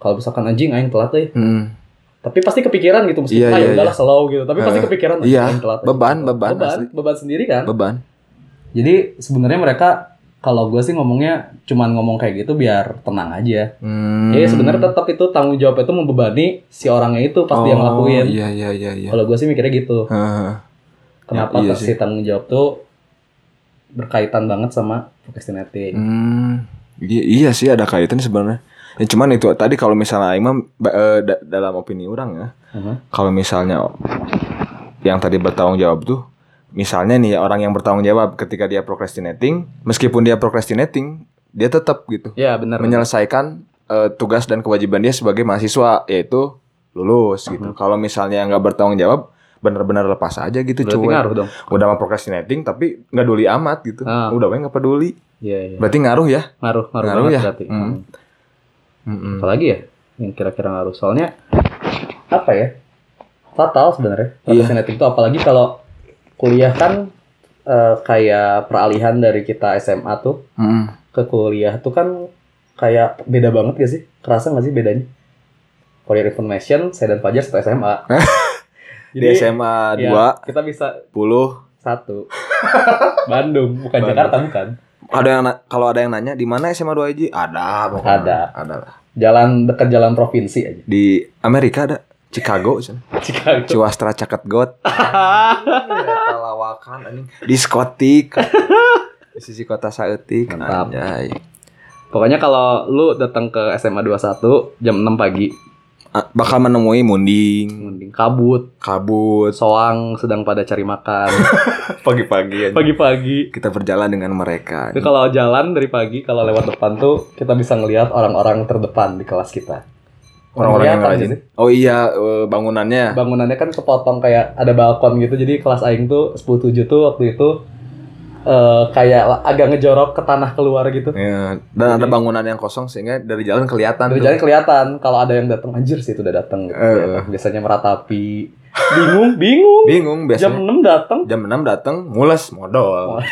S2: kalau misalkan anjing Aing telat deh
S1: Hmm.
S2: tapi pasti kepikiran gitu meskipun
S1: Iya,
S2: ah,
S1: iya,
S2: ya udahlah slow gitu tapi pasti
S1: Eh,
S2: kepikiran "Anjing,
S1: iya.
S2: Aing telat deh."
S1: Beban, beban,
S2: beban
S1: asli.
S2: beban sendiri kan
S1: Beban.
S2: jadi sebenarnya mereka kalau gue sih ngomongnya cuman ngomong kayak gitu biar tenang aja
S1: Hmm.
S2: Ya sebenarnya tetap itu tanggung jawab itu membebani si orangnya itu pas
S1: Oh,
S2: dia ngelakuin.
S1: Iya iya iya iya.
S2: Kalau gue sih mikirnya gitu.
S1: Heeh.
S2: Kenapa
S1: iya
S2: si tanggung jawab tuh berkaitan banget sama procrastinating.
S1: Hmm, iya, iya sih ada kaitan sebenarnya. Ya, cuman itu tadi kalau misalnya Aing mah ba- eh, da- dalam opini orang ya,
S2: Mhm.
S1: kalau misalnya yang tadi bertanggung jawab tuh, misalnya nih ya orang yang bertanggung jawab ketika dia procrastinating, meskipun dia procrastinating, dia tetap gitu
S3: Ya benar.
S1: menyelesaikan eh, tugas dan kewajiban dia sebagai mahasiswa yaitu lulus gitu.
S3: Hmm.
S1: Kalau misalnya nggak bertanggung jawab, bener-bener lepas aja gitu
S3: Berarti
S1: cuy.
S3: ngaruh dong.
S1: Udah mah procrastinating tapi nggak peduli amat gitu.
S3: Ah.
S1: Udah we nggak peduli.
S3: Iya iya.
S1: Berarti ngaruh ya?
S3: Ngaruh ngaruh,
S1: Ngaruh
S3: banget
S1: ya?
S3: berarti.
S1: Hmm.
S3: Hmm. Apalagi ya yang kira-kira ngaruh. Soalnya
S2: Apa ya? Fatal sebenarnya
S1: Iya.
S2: procrastinating itu apalagi kalau kuliah kan eh, kayak peralihan dari kita SMA tuh
S1: Mm-mm.
S2: ke kuliah tuh kan kayak beda banget gak sih? Kerasa gak sih bedanya? Career information, saya dan Fajar satu SMA.
S1: di SMA
S3: iya.
S2: ya,
S1: 2
S2: kita bisa
S1: 10
S2: Satu. Bandung, bukan
S1: Bandung.
S2: Jakarta, bukan.
S1: ada yang na- kalau ada yang nanya di mana SMA 2 Ji? Ada, pokoknya.
S2: Ada.
S1: Ada lah.
S2: Jalan dekat jalan provinsi aja.
S1: Di Amerika ada Chicago sana.
S2: Chicago.
S1: Ciwastra Caket Got. Eta lawakan anjing. Diskotik. Di sisi kota Saeutik.
S2: Mantap.
S1: Anjay.
S2: Pokoknya kalau lu datang ke SMA 21 jam 6 pagi,
S1: Ah, Bakal menemui munding,
S2: mending kabut,
S1: kabut
S2: soang sedang pada cari makan
S1: pagi-pagi anjing.
S2: pagi-pagi.
S1: Kita berjalan dengan mereka.
S2: Itu
S1: anjing.
S2: kalau jalan dari pagi kalau lewat depan tuh kita bisa ngelihat orang-orang terdepan di kelas kita.
S1: Orang-orang yang
S2: kelihatan
S1: rajin.
S2: nggak
S1: Oh iya, eh, bangunannya.
S2: Bangunannya kan kepotong kayak ada balkon gitu. Jadi kelas aing tuh 107 tuh waktu itu eh, kayak agak ngejorok ke tanah keluar gitu.
S1: Ya, dan ada bangunan yang kosong sehingga dari jalan kelihatan
S2: Dari
S1: tuh.
S2: jalan kelihatan kalau ada yang datang anjir sih itu udah datang gitu.
S1: Eh.
S2: Kelihatan. Biasanya meratapi. Bingung, bingung.
S1: Bingung
S2: Jam
S1: biasanya.
S2: 6 datang.
S1: jam 6 datang mules modal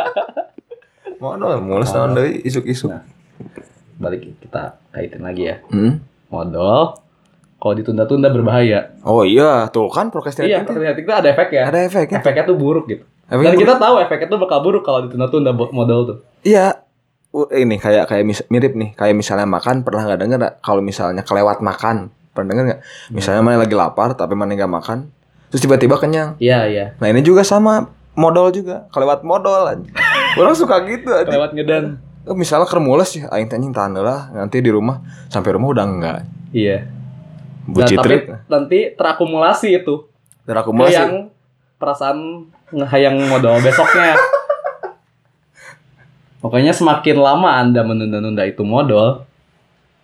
S1: modal mules naon deui isuk-isuk
S2: Nah. Balik kita kaitin lagi ya.
S1: Hmm?
S2: Modal kalau ditunda-tunda berbahaya.
S1: oh iya tuh kan procrastinating
S2: Iya,
S1: tuh
S2: ternyata itu ada efek ya.
S1: ada efeknya Oh, iya,
S2: Efeknya tuh buruk gitu. Dan
S1: efeknya
S2: kita tahu efeknya tuh bakal buruk kalau ditunda-tunda bo- modal tuh.
S1: iya U- ini kayak kayak mis- mirip nih kayak misalnya makan pernah nggak denger nggak? kalau misalnya kelewat makan pernah denger nggak
S2: Iya.
S1: misalnya mana lagi lapar tapi mana nggak makan terus tiba-tiba kenyang
S2: Iya, iya.
S1: nah ini juga sama modal juga kelewat modal anjing. orang suka gitu anjing.
S2: Lewat ngedan.
S1: Eh, misalnya kermules ya aing teh anjing tahan lah nanti di rumah sampai rumah udah enggak
S2: Iya. Nah,
S1: bucitrik
S2: tapi nanti terakumulasi itu.
S1: dan aku
S2: Ke yang perasaan ngehayang modal besoknya. Pokoknya semakin lama Anda menunda-nunda itu modal,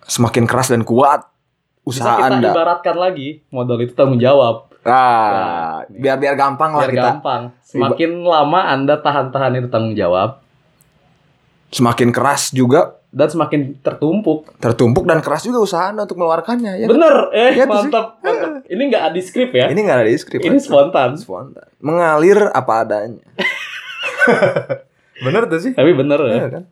S1: Semakin keras dan kuat
S2: bisa
S1: usaha
S2: kita
S1: Anda.
S2: ibaratkan lagi modal itu tanggung jawab.
S1: Ah,
S2: Nah,
S1: biar biar gampang lah
S2: Biar
S1: kita.
S2: gampang. Semakin lama Anda tahan-tahan itu tanggung jawab
S1: Semakin keras juga
S2: dan semakin tertumpuk.
S1: tertumpuk dan keras juga usaha Anda untuk mengeluarkannya ya.
S2: Bener, eh
S1: Ya, itu sih.
S2: mantap, mantap. Ini nggak ada skrip ya?
S1: Ini nggak ada di skrip.
S2: Ini
S1: kan?
S2: spontan.
S1: Spontan. Mengalir apa adanya. Bener tuh sih.
S2: Tapi bener ya.
S1: Iya kan?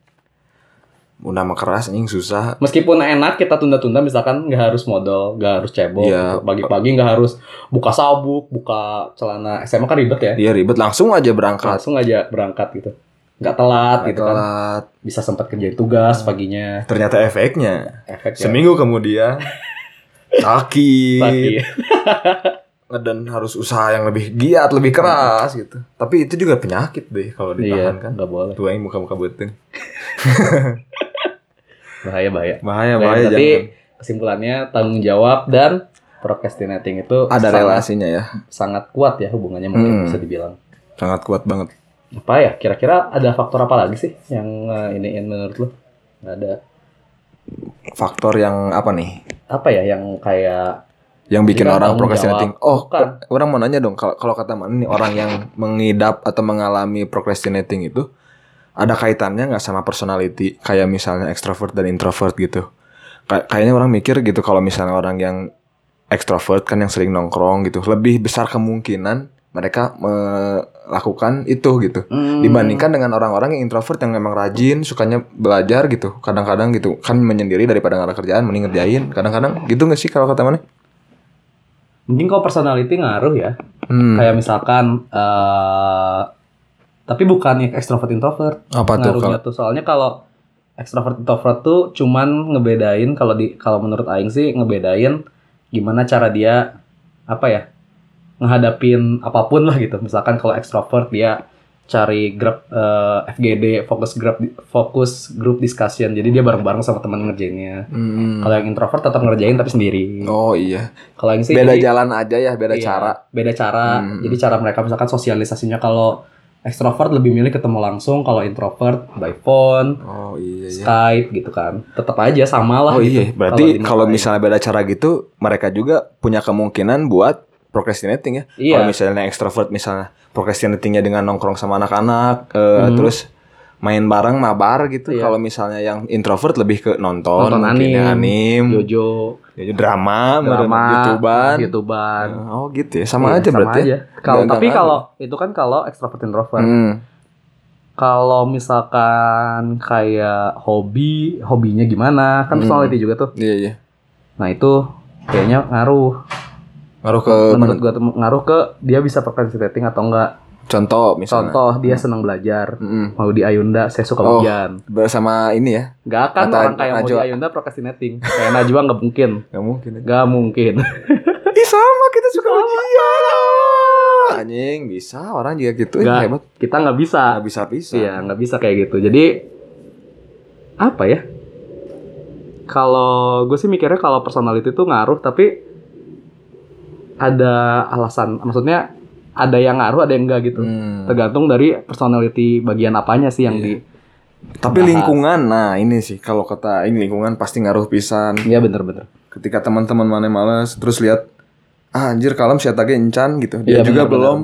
S1: Udah mah keras anjing susah.
S2: Meskipun enak kita tunda-tunda misalkan nggak harus modal, nggak harus cebok,
S1: Iya.
S2: gitu. pagi-pagi nggak harus buka sabuk, buka celana SMA kan ribet ya,
S1: Dia ribet langsung aja berangkat.
S2: langsung aja berangkat gitu, nggak telat gitu kan,
S1: Telat. Hmm.
S2: bisa sempat kerjain tugas paginya,
S1: Ternyata efeknya
S2: efeknya
S1: seminggu kemudian sakit.
S2: pagi.
S1: dan harus usaha yang lebih giat, lebih keras gitu. Tapi itu juga penyakit deh kalau
S2: Iya,
S1: ditahan kan.
S2: nggak boleh,
S1: Tuh yang muka-muka buteng.
S2: bahaya bahaya.
S1: Iya, Bahaya,
S2: Nah,
S1: bahaya
S2: berarti
S1: jangan.
S2: kesimpulannya tanggung jawab dan procrastinating itu
S1: Ada
S2: sangat,
S1: relasinya ya.
S2: sangat kuat ya hubungannya mungkin
S1: Hmm.
S2: bisa dibilang.
S1: Sangat kuat banget.
S2: Apa ya? Kira-kira ada faktor apa lagi sih yang eh, iniin menurut lo? Nggak ada
S1: Faktor yang apa nih?
S2: apa ya yang kayak
S1: Yang bikin
S2: Bukan
S1: orang
S2: tanggung
S1: procrastinating.
S2: jawab.
S1: Oh,
S2: Bukan.
S1: orang mau nanya dong kalau kalau kata mana nih orang yang mengidap atau mengalami procrastinating itu ada kaitannya nggak sama personality kayak misalnya extrovert dan introvert gitu Kay- kayaknya orang mikir gitu kalau misalnya orang yang extrovert kan yang sering nongkrong gitu lebih besar kemungkinan mereka melakukan itu gitu
S4: Hmm.
S1: dibandingkan dengan orang-orang yang introvert yang memang rajin sukanya belajar gitu kadang-kadang gitu kan menyendiri daripada nggak ada kerjaan mending ngerjain kadang-kadang gitu nggak sih kalau kata mana
S2: mungkin kalau personality ngaruh ya
S1: hmm,
S2: kayak misalkan eh tapi bukan ekstrovert introvert
S1: apa tuh kalau
S2: ngaruhnya tuh soalnya kalau ekstrovert introvert tuh cuman ngebedain kalau di kalau menurut Aing sih ngebedain gimana cara dia apa ya ngehadapin apapun lah gitu misalkan kalau ekstrovert dia cari grup eh, FGD fokus grup fokus group discussion jadi dia bareng-bareng sama teman ngerjainnya
S1: Hmm.
S2: kalau yang introvert tetap ngerjain tapi sendiri
S1: Oh iya,
S2: kalau yang sih
S1: beda
S2: jadi-
S1: jalan aja ya, beda
S2: Iya,
S1: cara.
S2: beda cara
S1: Hmm.
S2: jadi cara mereka misalkan sosialisasinya kalau ekstrovert lebih milih ketemu langsung kalau introvert by phone
S1: Oh iya iya.
S2: Skype gitu kan tetap aja sama lah
S1: Oh iya,
S2: gitu.
S1: berarti
S2: Kalau
S1: kalau
S2: dimulai.
S1: misalnya beda cara gitu, mereka juga punya kemungkinan buat procrastinating ya.
S2: iya
S1: Kalau misalnya ekstrovert misalnya procrastinatingnya dengan nongkrong sama anak-anak, eh,
S2: Hmm.
S1: terus main bareng mabar gitu.
S2: Iya.
S1: Kalau misalnya yang introvert lebih ke nonton,
S2: Nonton
S1: mungkin ya, anim,
S2: Jojo
S1: ya, drama,
S2: drama
S1: youtuban.
S2: YouTubean.
S1: Oh gitu ya, sama
S2: Iya,
S1: aja berarti. ya?
S2: aja. kalau
S1: Nggak-
S2: tapi
S1: nggak
S2: kalau itu kan kalau ekstrovert introvert
S1: Hmm.
S2: kalau misalkan kayak hobi hobinya gimana kan
S1: Hmm.
S2: personality juga tuh
S1: Iya iya.
S2: nah itu kayaknya ngaruh
S1: Ngaruh ke mana?
S2: menurut gua tuh ngaruh ke dia bisa procrastinating atau enggak
S1: Contoh misalnya.
S2: Contoh dia senang belajar.
S1: Mm-mm.
S2: Mau di Ayunda, saya suka
S1: Hmm. Oh.
S2: hujan.
S1: Bersama ini ya,
S2: Gak akan
S1: Kata
S2: orang kayak mau
S1: Najwa.
S2: di Ayunda procrastinating. Kayak Najwa gak mungkin.
S1: nggak mungkin. ya.
S2: Gak mungkin.
S1: Ih sama kita suka ujian. Ah, Anjing bisa orang juga gitu
S2: Nggak.
S1: ya, hebat.
S2: Kita gak bisa.
S1: Gak bisa bisa.
S2: Iya, gak bisa kayak gitu. Jadi, apa ya? Kalau gue sih mikirnya kalau personality itu ngaruh, tapi ada alasan. Maksudnya ada yang ngaruh, ada yang enggak gitu.
S1: Hmm.
S2: Tergantung dari personality bagian apanya sih yang
S1: Iya.
S2: di...
S1: Tapi
S2: Bahas.
S1: lingkungan, nah ini sih kalau kata ini lingkungan pasti ngaruh pisan.
S2: Iya bener-bener.
S1: Ketika teman-teman mana males terus lihat ah anjir kalem siapa tage encan gitu. Dia
S2: Iya,
S1: juga
S2: benar,
S1: belum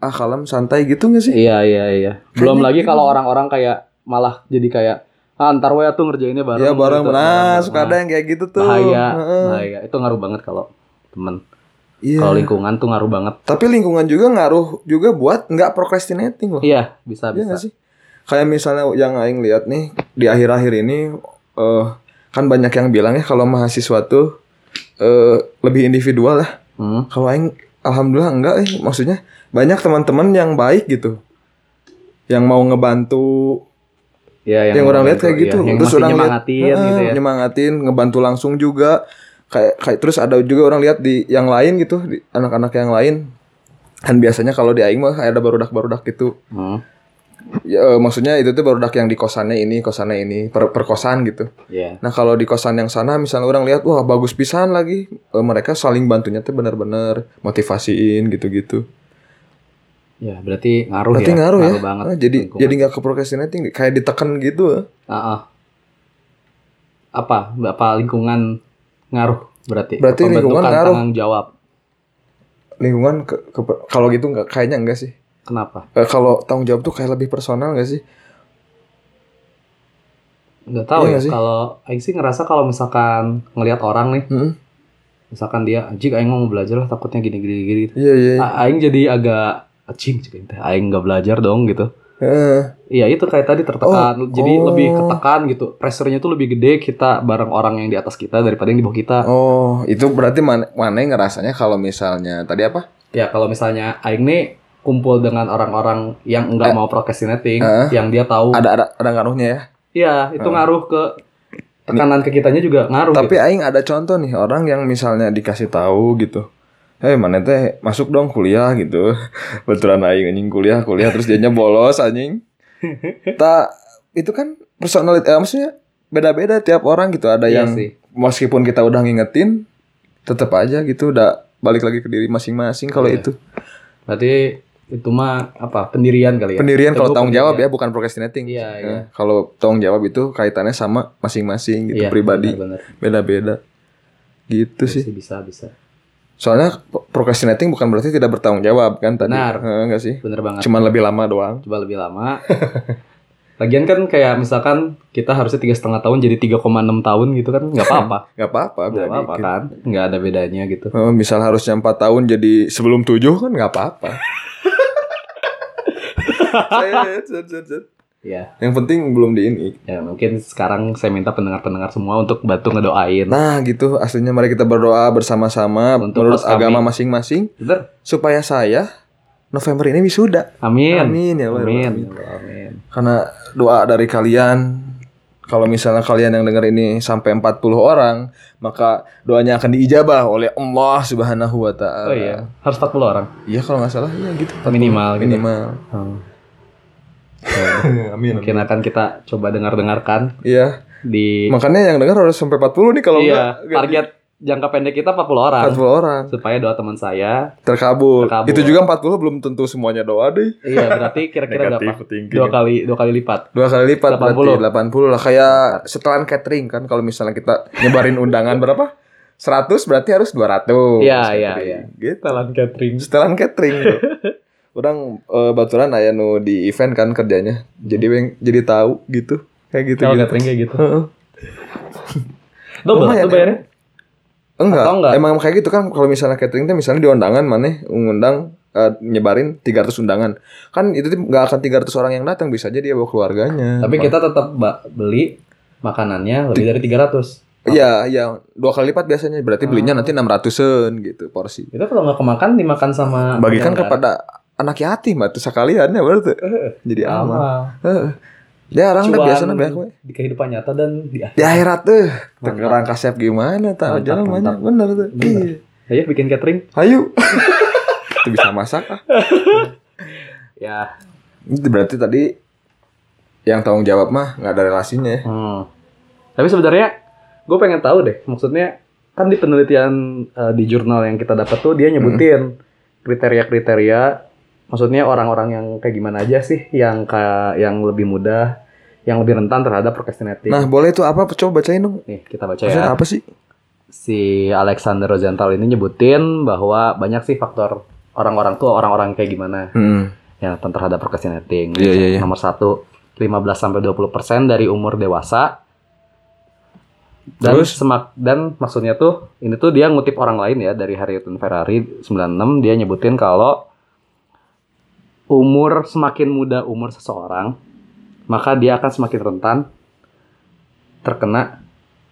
S1: ah kalem santai gitu gak sih?
S2: Iya iya iya. Belum
S1: Kayaknya
S2: lagi
S1: gitu.
S2: kalau orang-orang kayak malah jadi kayak ah, ntar we tuh ngerjainnya bareng.
S1: Iya bareng
S2: gitu.
S1: nah suka ada
S2: Nah,
S1: yang kayak gitu tuh.
S2: Bahaya,
S1: Heeh.
S2: bahaya. Itu ngaruh banget kalau temen.
S1: Iya.
S2: Kalau lingkungan tuh ngaruh banget.
S1: Tapi lingkungan juga ngaruh juga buat nggak procrastinating loh.
S2: Iya bisa
S1: Iya
S2: bisa.
S1: nggak sih? Kayak misalnya yang Aing lihat nih di akhir-akhir ini eh kan banyak yang bilang ya kalau mahasiswa tuh eh lebih individual lah.
S2: Hmm.
S1: Kalau Aing alhamdulillah enggak eh maksudnya banyak teman-teman yang baik gitu. Yang mau ngebantu,
S2: Iya,
S1: yang, orang lihat kayak
S2: iya,
S1: gitu.
S2: yang
S1: terus
S2: masih
S1: orang lihat
S2: nyemangatin
S1: "Heeh,
S2: gitu ya.
S1: nyemangatin, ngebantu langsung juga. Kayak kayak terus ada juga orang lihat di yang lain gitu, di anak-anak yang lain. Kan biasanya kalau di aing mah kayak ada barudak-barudak gitu
S2: Hmm.
S1: ya, eh, maksudnya itu tuh barudak yang di kosannya ini, kosannya ini, per, per kosan gitu.
S2: Iya.
S1: Nah, kalau di kosan yang sana misalnya orang lihat wah bagus pisan lagi, Eh, mereka saling bantunya tuh bener-bener motivasiin gitu-gitu.
S2: Ya, berarti ngaruh
S1: Berarti
S2: ya.
S1: ngaruh ya.
S2: banget.
S1: Ah, jadi
S2: lingkungan.
S1: jadi nggak ke procrastinating kayak ditekan gitu ah.
S2: Heeh. Apa? Apa lingkungan ngaruh berarti?
S1: Berarti lingkungan
S2: Pembentukan
S1: ngaruh.
S2: tanggung jawab.
S1: lingkungan ke, ke- kalau gitu nggak kayaknya enggak sih
S2: Kenapa?
S1: Eh, kalau tanggung jawab tuh kayak lebih personal nggak sih
S2: Nggak tahu
S1: Iya nggak
S2: ya.
S1: sih?
S2: Kalau Aing sih ngerasa kalau misalkan ngelihat orang nih,
S1: Mm-mm.
S2: misalkan dia anjing Aing mau belajar lah takutnya gini-gini gini.
S1: iya iya iya.
S2: A- Aing jadi agak anjing cek Aing teh. Aing nggak belajar dong gitu.
S1: Eh,
S2: Iya itu kayak tadi tertekan,
S1: Oh,
S2: jadi
S1: oh.
S2: lebih ketekan gitu. Pressure-nya tuh lebih gede kita bareng orang yang di atas kita daripada yang di bawah kita.
S1: oh itu berarti mana mana yang ngerasanya kalau misalnya tadi apa
S2: Ya kalau misalnya Aing nih kumpul dengan orang-orang yang nggak
S1: Eh.
S2: mau procrastinating,
S1: Eh.
S2: yang dia tahu,
S1: ada ada ada ngaruhnya ya
S2: iya itu
S1: Eh.
S2: ngaruh ke tekanan ke kitanya juga ngaruh. gitu.
S1: tapi aing ada contoh nih orang yang misalnya dikasih tahu gitu Eh mana teh masuk dong kuliah gitu Betulan aing anjing kuliah kuliah terus dianya bolos anjing Tak itu kan personal eh, maksudnya beda-beda tiap orang gitu ada
S2: Iya
S1: yang
S2: sih.
S1: meskipun kita udah ngingetin tetap aja gitu udah balik lagi ke diri masing-masing kalau
S2: Iya.
S1: itu
S2: Berarti itu mah apa pendirian kali ya?
S1: pendirian kalau
S2: Teguh
S1: tanggung jawab ya
S2: pendirian.
S1: bukan procrastinating
S2: Iya,
S1: Eh,
S2: iya.
S1: kalau tanggung jawab itu kaitannya sama masing-masing gitu
S2: Iya,
S1: pribadi
S2: benar-benar.
S1: beda-beda gitu
S2: Iya
S1: sih
S2: sih, bisa bisa.
S1: soalnya procrastinating bukan berarti tidak bertanggung jawab kan tadi
S2: Benar.
S1: Eh, enggak sih
S2: Bener banget.
S1: cuman lebih lama doang
S2: coba lebih lama. Lagian kan kayak misalkan kita harusnya tiga setengah tahun jadi 3,6 tahun gitu kan nggak apa-apa,
S1: nggak apa-apa
S2: nggak
S1: berarti. gitu.
S2: apa-apa kan, nggak ada bedanya gitu.
S1: Eh, misal harusnya empat tahun jadi sebelum tujuh kan nggak apa-apa Set, set, set, set.
S2: Ya,
S1: yang penting belum di ini
S2: ya mungkin sekarang saya minta pendengar-pendengar semua untuk bantu ngedoain.
S1: Nah gitu aslinya mari kita berdoa bersama-sama
S2: Untuk
S1: menurut
S2: host kami.
S1: agama masing-masing
S2: Bener?
S1: supaya saya November ini wisuda.
S2: Amin.
S1: Amin ya Allah.
S2: Amin.
S1: Amin.
S2: Amin.
S1: Karena doa dari kalian kalau misalnya kalian yang dengar ini sampai 40 orang, maka doanya akan diijabah oleh Allah Subhanahu wa taala.
S2: Oh iya, harus 40 orang.
S1: Iya kalau nggak salah ya gitu.
S2: Minimal gitu.
S1: Minimal. Oh.
S2: Hmm.
S1: amin.
S2: Mungkin akan kita coba dengar-dengarkan
S1: Iya.
S2: di
S1: Makanya yang dengar harus sampai 40 nih kalau
S2: iya,
S1: nggak- nggak
S2: target jangka pendek kita 40 orang.
S1: di- 40 orang
S2: Supaya doa teman saya.
S1: terkabul.
S2: Terkabul.
S1: Itu juga 40 belum tentu semuanya doa deh.
S2: Iya, berarti kira-kira berapa?
S1: thinking.
S2: Dua kali dua kali lipat.
S1: Dua kali lipat
S2: 80.
S1: berarti 80 lah kayak setelan catering kan kalau misalnya kita nyebarin undangan berapa? 100 berarti harus 200.
S2: Iya,
S1: catering.
S2: iya, iya.
S1: Gitu.
S2: Talent catering.
S1: Setelan catering. bro. Orang eh, baturan aya nu di event kan kerjanya. Jadi weng- jadi tahu gitu. Kayak gitu
S2: Hmm. Kalau
S1: gitu.
S2: catering kayak gitu.
S1: Heeh.
S2: Double
S1: Lumayan, ya.
S2: tuh bayarnya.
S1: Enggak.
S2: Atau enggak?
S1: Emang kayak gitu kan kalau misalnya catering teh misalnya di undangan maneh ngundang eh, nyebarin 300 undangan. Kan itu tuh nggak akan 300 orang yang datang bisa aja dia bawa keluarganya.
S2: Tapi kita tetap ba- beli makanannya lebih dari 300.
S1: Iya, iya. Dua kali lipat biasanya. Berarti
S2: Oh.
S1: belinya nanti 600-an gitu porsi.
S2: Itu kalau nggak kemakan dimakan sama
S1: Bagikan
S2: negara.
S1: kepada anak yatim atau sekalian ya berarti. Jadi aman.
S2: Amal.
S1: Heeh. Ya orang teh
S2: Cuan
S1: biasanya banyak we.
S2: di kehidupan nyata dan di
S1: Di akhirat eh. tuh
S2: Mantap.
S1: terkerang kasep gimana tak
S2: Mantap,
S1: jalan banyak
S2: mantap.
S1: bener tuh.
S2: Bener.
S1: Iya.
S2: Ayo bikin catering.
S1: Hayu. Itu bisa masak ah.
S2: Ya.
S1: Itu berarti tadi yang tanggung jawab mah nggak ada relasinya ya.
S2: Hmm. Tapi sebenarnya gue pengen tahu deh, maksudnya kan di penelitian eh, di jurnal yang kita dapat tuh
S1: Hmm.
S2: dia nyebutin kriteria-kriteria, maksudnya orang-orang yang kayak gimana aja sih yang kayak yang lebih mudah, yang lebih rentan terhadap procrastinating.
S1: Nah, boleh itu apa coba bacain dong.
S2: Nih kita baca
S1: Maksudnya
S2: ya.
S1: apa sih?
S2: Si Alexander Rosenthal ini nyebutin bahwa banyak sih faktor orang-orang tuh orang-orang kayak gimana
S1: Hmm.
S2: yang rentan ya, terhadap procrastinating.
S1: Iya, iya, iya.
S2: Nomor satu, 15 sampai 20 dari umur dewasa. Dan
S1: Terus?
S2: semak dan maksudnya tuh ini tuh dia ngutip orang lain ya dari Harriet Ferrari 96 dia nyebutin kalau umur semakin muda umur seseorang maka dia akan semakin rentan terkena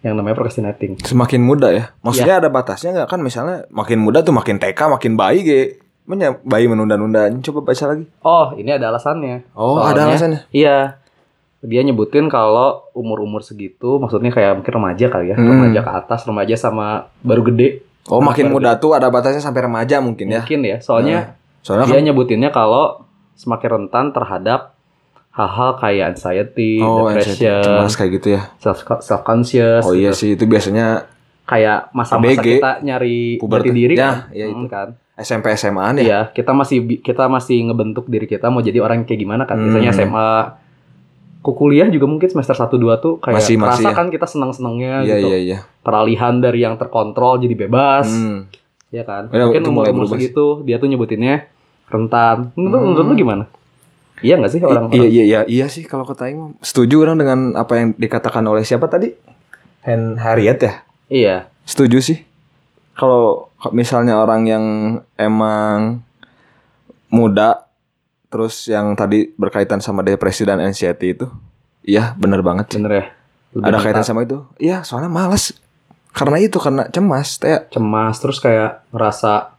S2: yang namanya procrastinating.
S1: Semakin muda ya.
S2: Iya.
S1: Maksudnya ada batasnya nggak kan misalnya makin muda tuh makin TK, makin bayi ge. Menya bayi menunda-nunda. Coba baca lagi.
S2: Oh, ini ada alasannya.
S1: Oh,
S2: Soalnya-
S1: ada alasannya.
S2: Iya. Dia nyebutin kalau umur-umur segitu, maksudnya kayak mungkin remaja kali ya,
S1: Hmm.
S2: remaja ke atas, remaja sama baru gede
S1: Oh, makin
S2: Baru
S1: muda tuh ada batasnya sampai remaja mungkin ya.
S2: mungkin ya. Soalnya
S1: Soalnya
S2: dia
S1: kan
S2: nyebutinnya kalau semakin rentan terhadap hal-hal kayak anxiety,
S1: oh, anxiety,
S2: depression,
S1: cemas kayak gitu ya.
S2: self self conscious,
S1: Oh iya sih, itu biasanya
S2: kayak masa-masa
S1: ABG,
S2: kita nyari
S1: Pubertas.
S2: jati diri
S1: Ya,
S2: kan.
S1: ya
S2: Hmm, kan.
S1: SMP SMA ya.
S2: Iya, kita masih bi- kita masih ngebentuk diri kita mau jadi orang kayak gimana kan. Biasanya
S1: Hmm.
S2: SMA ku kuliah juga mungkin semester 1 2 tuh kayak
S1: Masih-
S2: kerasa
S1: masih ya.
S2: kan kita senang-senangnya
S1: Iya
S2: gitu.
S1: iya iya.
S2: Peralihan dari yang terkontrol jadi bebas,
S1: Hmm.
S2: ya kan.
S1: Ya,
S2: mungkin
S1: itu
S2: umur
S1: mulai
S2: umur
S1: berubah sih.
S2: segitu dia tuh nyebutinnya rentan. Menurut,
S1: Hmm.
S2: menurut lu gimana? Iya nggak sih orang
S1: I- iya iya iya iya sih kalau kata Aing mah. setuju orang dengan apa yang dikatakan oleh siapa tadi? Hen Harriet ya?
S2: Iya.
S1: Setuju sih. Kalau misalnya orang yang emang muda terus yang tadi berkaitan sama depresi dan anxiety itu, iya bener banget. sih.
S2: Bener ya. Lebih
S1: Ada
S2: mental.
S1: kaitan sama itu? Iya, soalnya malas. Karena itu karena cemas, teh.
S2: cemas terus kayak ngerasa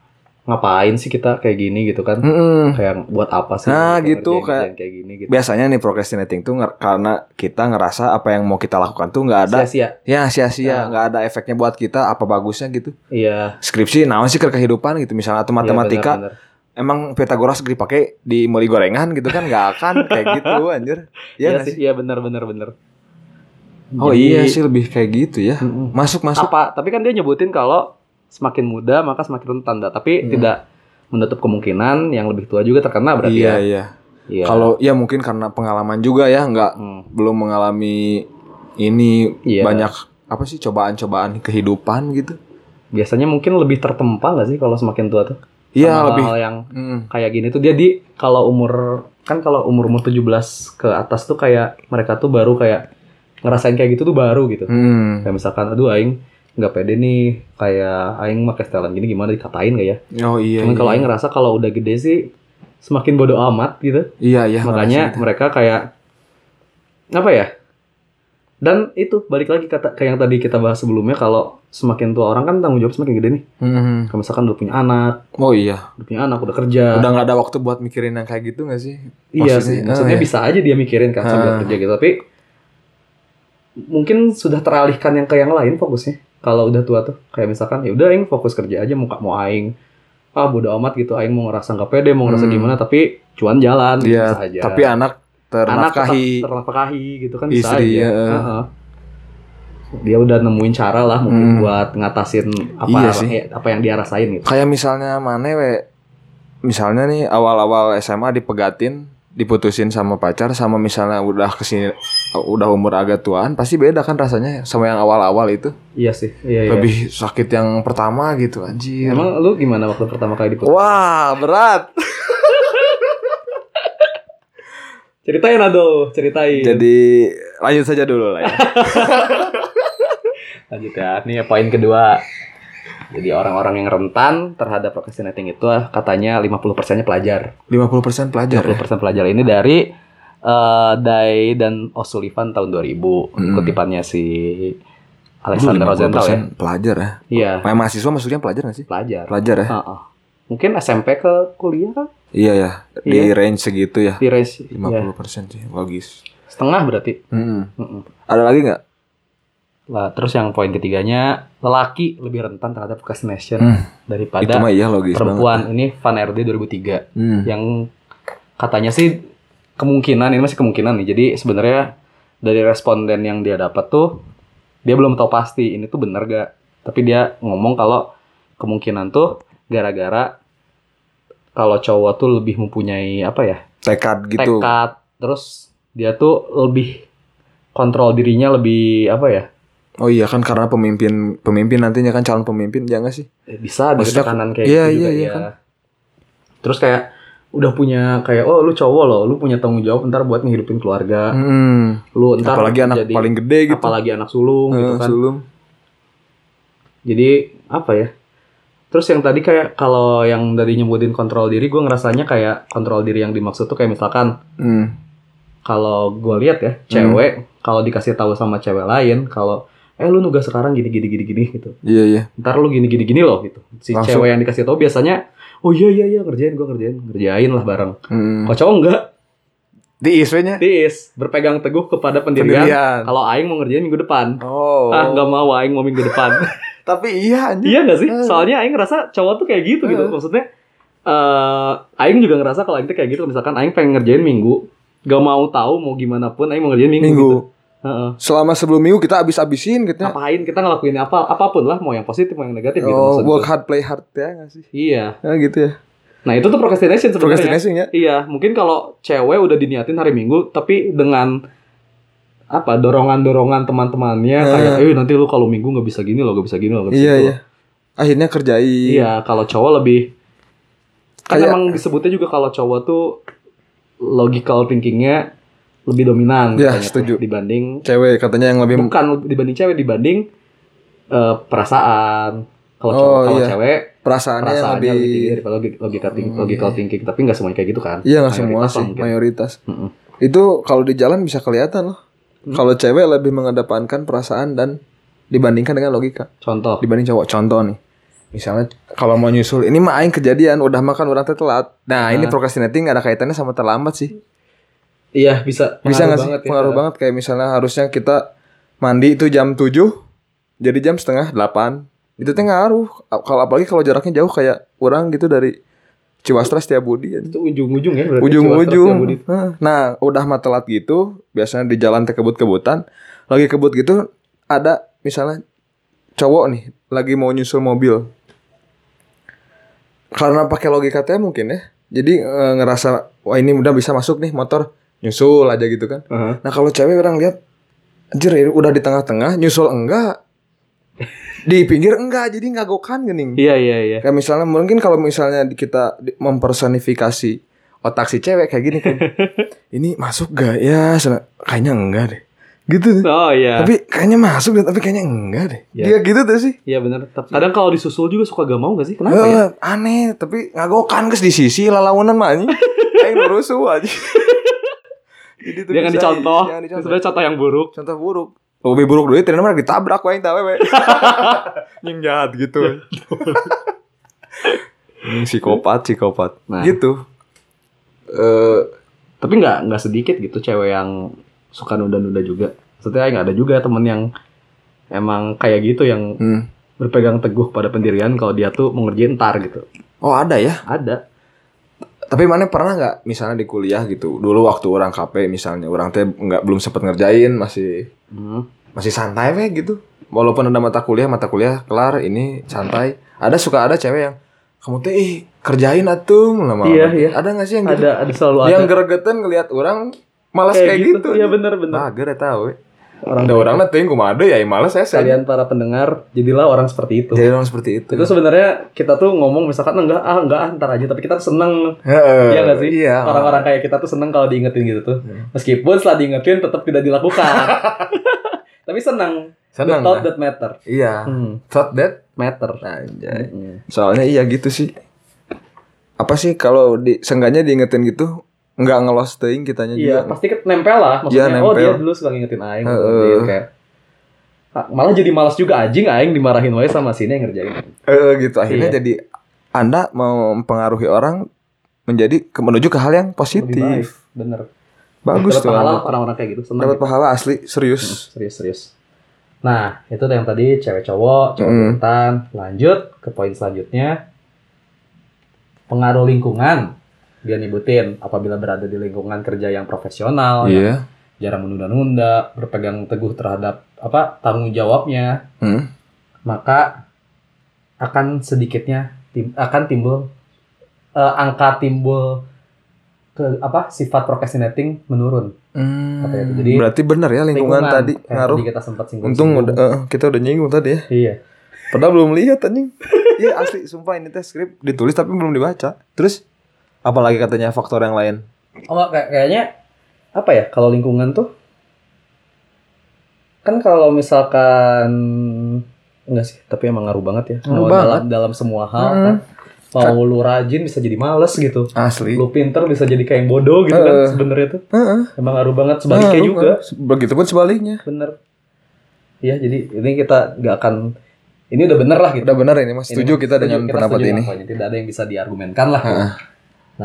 S2: ngapain sih kita kayak gini gitu kan?
S1: Mm-mm.
S2: Kayak buat apa sih?
S1: Hmm. Nah,
S2: kita
S1: gitu,
S2: ngerjain-
S1: kayak-
S2: ngerjain kayak gini gitu.
S1: Biasanya nih procrastinating tuh nger- karena kita ngerasa apa yang mau kita lakukan tuh nggak ada
S2: Sia-sia.
S1: ya sia-sia
S2: Ya.
S1: nggak ada efeknya buat kita apa bagusnya gitu
S2: Iya.
S1: skripsi naon sih ke kehidupan gitu misalnya atau matematika
S2: Iya, bener,
S1: emang Pythagoras dipakai di muli gorengan gitu kan nggak akan kayak gitu anjir
S2: bener. Iya
S1: ya
S2: sih, iya benar benar benar.
S1: oh
S2: Jadi-
S1: iya sih lebih kayak gitu ya
S2: Mm-mm.
S1: masuk masuk
S2: Apa? Tapi kan dia nyebutin kalau semakin muda maka semakin rentan, dah. tapi
S1: Hmm.
S2: tidak menutup kemungkinan yang lebih tua juga terkena berarti
S1: iya
S2: ya.
S1: iya
S2: Iya.
S1: kalau ya mungkin karena pengalaman juga ya nggak
S2: Hmm,
S1: belum mengalami ini
S2: Iya.
S1: banyak apa sih cobaan-cobaan kehidupan gitu
S2: biasanya mungkin lebih tertempa nggak sih kalau semakin tua tuh?
S1: iya
S2: Sama
S1: lebih
S2: hal yang
S1: Mm.
S2: kayak gini tuh dia di kalau umur kan kalau umur umur 17 ke atas tuh kayak mereka tuh baru kayak ngerasain kayak gitu tuh baru gitu.
S1: Mm.
S2: Kayak misalkan aduh aing nggak pede nih kayak aing pakai setelan gini gimana dikatain gak ya?
S1: oh iya
S2: Cuman
S1: iya.
S2: kalau Aing ngerasa kalau udah gede sih semakin bodoh amat gitu.
S1: iya iya
S2: Makanya mereka kayak apa ya? Dan itu balik lagi kata kayak yang tadi kita bahas sebelumnya kalau semakin tua orang kan tanggung jawab semakin gede nih.
S1: Mm.
S2: Kalau misalkan udah punya anak,
S1: oh iya
S2: udah punya anak, udah kerja.
S1: udah nggak ada waktu buat mikirin yang kayak gitu nggak sih? maksudnya-
S2: iya sih.
S1: ah,
S2: Maksudnya
S1: iya.
S2: bisa aja dia mikirin kan sambil
S1: Ah.
S2: kerja gitu, tapi mungkin sudah teralihkan yang ke yang lain fokusnya. Kalau udah tua tuh kayak misalkan ya udah aing fokus kerja aja mau mau aing ah bodo amat gitu aing mau ngerasa nggak pede mau ngerasa
S1: Hmm.
S2: gimana tapi cuan jalan gitu
S1: Iya.
S2: bisa aja.
S1: Tapi anak
S2: anak
S1: ternafkahi.
S2: tetap ternafkahi gitu kan bisa
S1: Istri,
S2: aja.
S1: ya, eh.
S2: Heeh. Dia udah nemuin cara lah mungkin
S1: Hmm.
S2: buat ngatasin apa
S1: Iya sih.
S2: eh, apa yang dia rasain gitu.
S1: Kayak misalnya mana we misalnya nih awal-awal SMA dipegatin, diputusin sama pacar sama misalnya udah kesini udah umur agak tuaan pasti beda kan rasanya sama yang awal-awal itu
S2: Iya sih. Iya, iya.
S1: lebih sakit yang pertama gitu anjir
S2: Emang lu gimana waktu pertama kali diputus?
S1: wah berat
S2: Ceritain aduh, ceritain.
S1: Iya. jadi lanjut saja dulu lah ya
S2: Lanjut ya. Ini ya poin kedua. Jadi orang-orang yang rentan terhadap procrastinating itu ah, katanya 50%-nya pelajar.
S1: 50% pelajar ya?
S2: 50% pelajar ini dari eh Day dan O'Sullivan tahun 2000.
S1: Mm.
S2: Kutipannya si
S1: Aduh,
S2: Alexander Rosenthal ya.
S1: 50% pelajar ya
S2: Iya,
S1: Ma- mahasiswa maksudnya pelajar gak sih
S2: pelajar.
S1: pelajar ya
S2: Heeh. Mungkin SMP ke kuliah kan?
S1: iya ya di
S2: Iya.
S1: range segitu ya
S2: Di range ya,
S1: 50% sih logis.
S2: setengah berarti. Mm-mm.
S1: Hmm. Ada lagi nggak?
S2: Lah, terus yang poin ketiganya lelaki lebih rentan terhadap procrastination
S1: Hmm, itu
S2: daripada
S1: mah iya logis banget.
S2: perempuan. Ya. Ini Van RD 2003.
S1: Hmm.
S2: yang katanya sih kemungkinan ini masih kemungkinan nih. Jadi sebenarnya dari responden yang dia dapat tuh dia belum tahu pasti ini tuh bener gak. Tapi dia ngomong kalau kemungkinan tuh gara-gara kalau cowok tuh lebih mempunyai apa ya
S1: Tekad gitu.
S2: tekad terus dia tuh lebih kontrol dirinya lebih apa ya
S1: Oh iya kan karena pemimpin pemimpin nantinya kan calon pemimpin ya nggak sih?
S2: Eh, bisa ada
S1: Maksudnya,
S2: tekanan kayak
S1: iya,
S2: gitu juga
S1: iya, iya
S2: ya.
S1: kan.
S2: terus kayak udah punya kayak oh lu cowok loh lu punya tanggung jawab ntar buat ngehidupin keluarga
S1: Hmm.
S2: lu Ya. ntar
S1: Apalagi anak
S2: jadi-
S1: paling gede gitu.
S2: apalagi anak sulung
S1: Eh,
S2: gitu kan
S1: sulung.
S2: jadi apa ya terus yang tadi kayak kalau yang tadi nyebutin kontrol diri gue ngerasanya kayak kontrol diri yang dimaksud tuh kayak misalkan
S1: Hmm.
S2: kalau gue lihat ya cewek kalau dikasih tahu sama cewek lain kalau eh lu nugas sekarang gini gini gini gini gitu
S1: Iya iya.
S2: ntar lu gini gini gini loh gitu si
S1: Langsung.
S2: cewek yang dikasih tahu biasanya oh iya iya iya ngerjain gue ngerjain ngerjain lah bareng
S1: Hmm.
S2: kalau cowok enggak
S1: Di iswenya
S2: tiis berpegang teguh kepada pendirian
S1: pendirian.
S2: kalau aing mau ngerjain minggu depan
S1: Oh.
S2: ah nggak mau aing mau minggu depan
S1: Tapi iya anjir.
S2: Iya gak sih?
S1: Eh.
S2: Soalnya Aing ngerasa cowok tuh kayak gitu
S1: Eh.
S2: gitu. Maksudnya eh Aing juga ngerasa kalau Aing tuh kayak gitu. Misalkan Aing pengen ngerjain minggu, gak mau tahu mau gimana pun Aing mau ngerjain minggu.
S1: Minggu.
S2: Gitu. Heeh.
S1: Selama sebelum minggu kita abis-abisin gitu ya.
S2: Ngapain kita ngelakuin apa apapun lah mau yang positif mau yang negatif gitu
S1: Oh,
S2: maksud gue.
S1: work hard play hard ya gak sih?
S2: Iya.
S1: Ya gitu ya.
S2: Nah, itu tuh procrastination sebenarnya.
S1: Procrastination ya.
S2: Iya, mungkin kalau cewek udah diniatin hari Minggu tapi dengan apa dorongan-dorongan teman-temannya kayak eh nanti lu kalau Minggu nggak bisa gini lo nggak bisa gini lo nggak bisa
S1: Iya,
S2: gitu
S1: iya. Akhirnya kerjain.
S2: Iya, kalau cowok lebih kan
S1: Kayak-
S2: emang disebutnya juga kalau cowok tuh logical thinkingnya lebih dominan
S1: Iya,
S2: katanya tuh,
S1: setuju.
S2: dibanding
S1: Cewek katanya yang lebih
S2: bukan dibanding cewek dibanding eh, perasaan. Kalau
S1: Oh,
S2: cowok kalau
S1: iya.
S2: cewek
S1: perasaannya, yang
S2: perasaannya
S1: lebih
S2: lebih tinggi daripada logi- logical, think-
S1: Hmm.
S2: logical thinking, tapi nggak semuanya kayak gitu kan.
S1: Iya nggak semua
S2: Mayoritas
S1: sih
S2: lah mungkin.
S1: mayoritas.
S2: Mm-mm.
S1: Itu kalau di jalan bisa kelihatan loh.
S2: Hmm.
S1: Kalau cewek lebih mengedepankan perasaan dan dibandingkan dengan logika
S2: Contoh.
S1: dibanding cowok. Contoh nih, misalnya kalau mau nyusul, ini mah aing kejadian udah makan orang teh telat. Nah ini
S2: Ah.
S1: procrastinating ada kaitannya sama terlambat sih.
S2: Iya, bisa
S1: Bisa
S2: Pengaruh
S1: nggak sih?
S2: banget ya.
S1: Pengaruh banget kayak misalnya harusnya kita mandi itu jam 7 jadi jam setengah 8 itu teh ngaruh. Kalau apalagi kalau jaraknya jauh kayak orang gitu dari Ciwastra Setiabudi ya.
S2: Itu ujung-ujung ya berarti Jawa Barat, Jawa
S1: ujung-ujung.
S2: Barat.
S1: Heeh. Nah, udah mah telat gitu, biasanya di jalan teh kebut-kebutan, lagi kebut gitu ada misalnya cowok nih lagi mau nyusul mobil. Karena pakai logika teh mungkin ya. Jadi eh, ngerasa wah ini udah bisa masuk nih motor, nyusul aja gitu kan.
S2: Heeh.
S1: Nah, kalau cewek orang lihat anjir ini udah di tengah-tengah nyusul enggak. Di pinggir enggak, jadi enggak gokan gening.
S2: Iya, iya, iya.
S1: Kayak misalnya mungkin kalau misalnya di- kita di- mempersonifikasi otak si cewek kayak gini kan. ini masuk gak ya? Sana- Kayaknya enggak deh. Gitu. deh.
S2: Oh iya.
S1: Tapi kayaknya masuk deh, tapi kayaknya enggak deh.
S2: Ya.
S1: Dia gitu tuh sih.
S2: Iya benar. Kadang kalau disusul juga suka gak mau gak sih? Kenapa ya?
S1: Eh, aneh, tapi ngagokan geus di sisi lalaunan mah anjing. Kayak nurusu aja. Jadi tuh
S2: Dia kan
S1: bisa-
S2: dicontoh.
S1: jangan
S2: Itu
S1: dicontoh.
S2: Sebenarnya contoh yang buruk.
S1: Contoh buruk. Oh, Lebih buruk dulu ternyata mah ditabrak wae tah wewe. Nying jahat gitu. Nying psikopat, psikopat.
S2: Nah.
S1: Gitu. Eh
S2: Tapi nggak nggak sedikit gitu cewek yang suka nunda-nunda juga. Maksudnya nggak ada juga temen yang emang kayak gitu yang
S1: hmm.
S2: berpegang teguh pada pendirian kalau dia tuh mau ngerjain ntar gitu.
S1: Oh ada ya.
S2: Ada.
S1: Tapi mana pernah nggak misalnya di kuliah gitu. Dulu waktu orang KP misalnya orang teh nggak belum sempat ngerjain masih
S2: Hmm.
S1: masih santai weh gitu. Walaupun ada mata kuliah, mata kuliah kelar ini santai. Ada suka ada cewek yang kamu teh ih kerjain atuh lama-lama.
S2: Iya, iya.
S1: Ada nggak sih yang gitu?
S2: Ada ada selalu ada.
S1: yang geregetan ngelihat orang malas kayak, gitu.
S2: Iya benar
S1: Nah,
S2: benar.
S1: gue tahu.
S2: Orang
S1: Ada orang nanti yang kumade ya, yang malas saya
S2: kalian para pendengar jadilah orang seperti itu.
S1: Jadi orang seperti itu.
S2: Itu sebenarnya kita tuh ngomong misalkan enggak ah enggak ah, ntar aja tapi kita tuh seneng
S1: Heeh.
S2: Iya nggak sih?
S1: Iya.
S2: Orang-orang kayak kita tuh seneng kalau diingetin gitu tuh. Meskipun setelah diingetin tetap tidak dilakukan. Tapi senang.
S1: senang.
S2: The thought
S1: lah.
S2: that matter.
S1: Iya.
S2: Hmm,
S1: Thought that.
S2: matter.
S1: Anjay.
S2: Hmm.
S1: Soalnya iya gitu sih. Apa sih kalau di sengganya diingetin gitu nggak ngelost teing kitanya
S2: Iya,
S1: juga.
S2: pasti ke- nempel lah. Maksudnya,
S1: Iya,
S2: oh dia
S1: nempel.
S2: dulu suka ngingetin Aing.
S1: Heeh.
S2: ngerjain kayak, ah, malah jadi malas juga anjing Aing dimarahin wae sama sini yang ngerjain. Oh,
S1: Eh, gitu akhirnya
S2: Iya.
S1: jadi Anda mau mempengaruhi orang menjadi ke- menuju ke hal yang
S2: Lebih baik,
S1: positif.
S2: bener.
S1: Bagus
S2: Dapat
S1: tuh.
S2: pahala Hmm.
S1: Anda.
S2: orang-orang kayak gitu. Senang.
S1: Dapat pahala asli serius.
S2: Serius, serius. Nah, itu yang tadi cewek cowok, cowok
S1: Mm.
S2: gebetan. Lanjut ke poin selanjutnya. Pengaruh lingkungan. Dia nyebutin apabila berada di lingkungan kerja yang profesional, yang
S1: Iya.
S2: jarang menunda-nunda, berpegang teguh terhadap apa tanggung jawabnya,
S1: Hmm.
S2: maka akan sedikitnya tim- akan timbul eh, angka timbul ke apa sifat procrastinating menurun.
S1: Hmm,
S2: Katanya tuh. Jadi,
S1: berarti benar ya lingkungan, tadi
S2: Kayak
S1: ngaruh.
S2: kita sempat singgung.
S1: Untung udah, eh, kita udah nyinggung tadi ya.
S2: Iya.
S1: Padahal belum lihat anjing. Iya asli sumpah ini teh skrip ditulis tapi belum dibaca. Terus apalagi katanya faktor yang lain.
S2: Oh, nggak, kayak- kayaknya apa ya kalau lingkungan tuh kan kalau misalkan enggak sih tapi emang ngaruh banget ya
S1: Ngaruh
S2: Mau
S1: banget.
S2: dalam dalam semua hal
S1: Hmm.
S2: kan. mau lu rajin bisa jadi males gitu
S1: Asli.
S2: lu pinter bisa jadi kayak yang bodoh gitu kan
S1: Eh.
S2: sebenarnya tuh
S1: Heeh.
S2: emang ngaruh banget sebaliknya
S1: Ngaruh,
S2: juga
S1: ngaruh. Begitupun sebaliknya.
S2: bener ya jadi ini kita nggak akan ini udah bener lah gitu
S1: Udah benar ini Mas.
S2: Ini
S1: Setuju
S2: mah,
S1: kita
S2: setuju,
S1: dengan
S2: kita
S1: pendapat
S2: setuju
S1: ini.
S2: dengan poinnya. tidak ada yang bisa diargumenkan lah
S1: Heeh.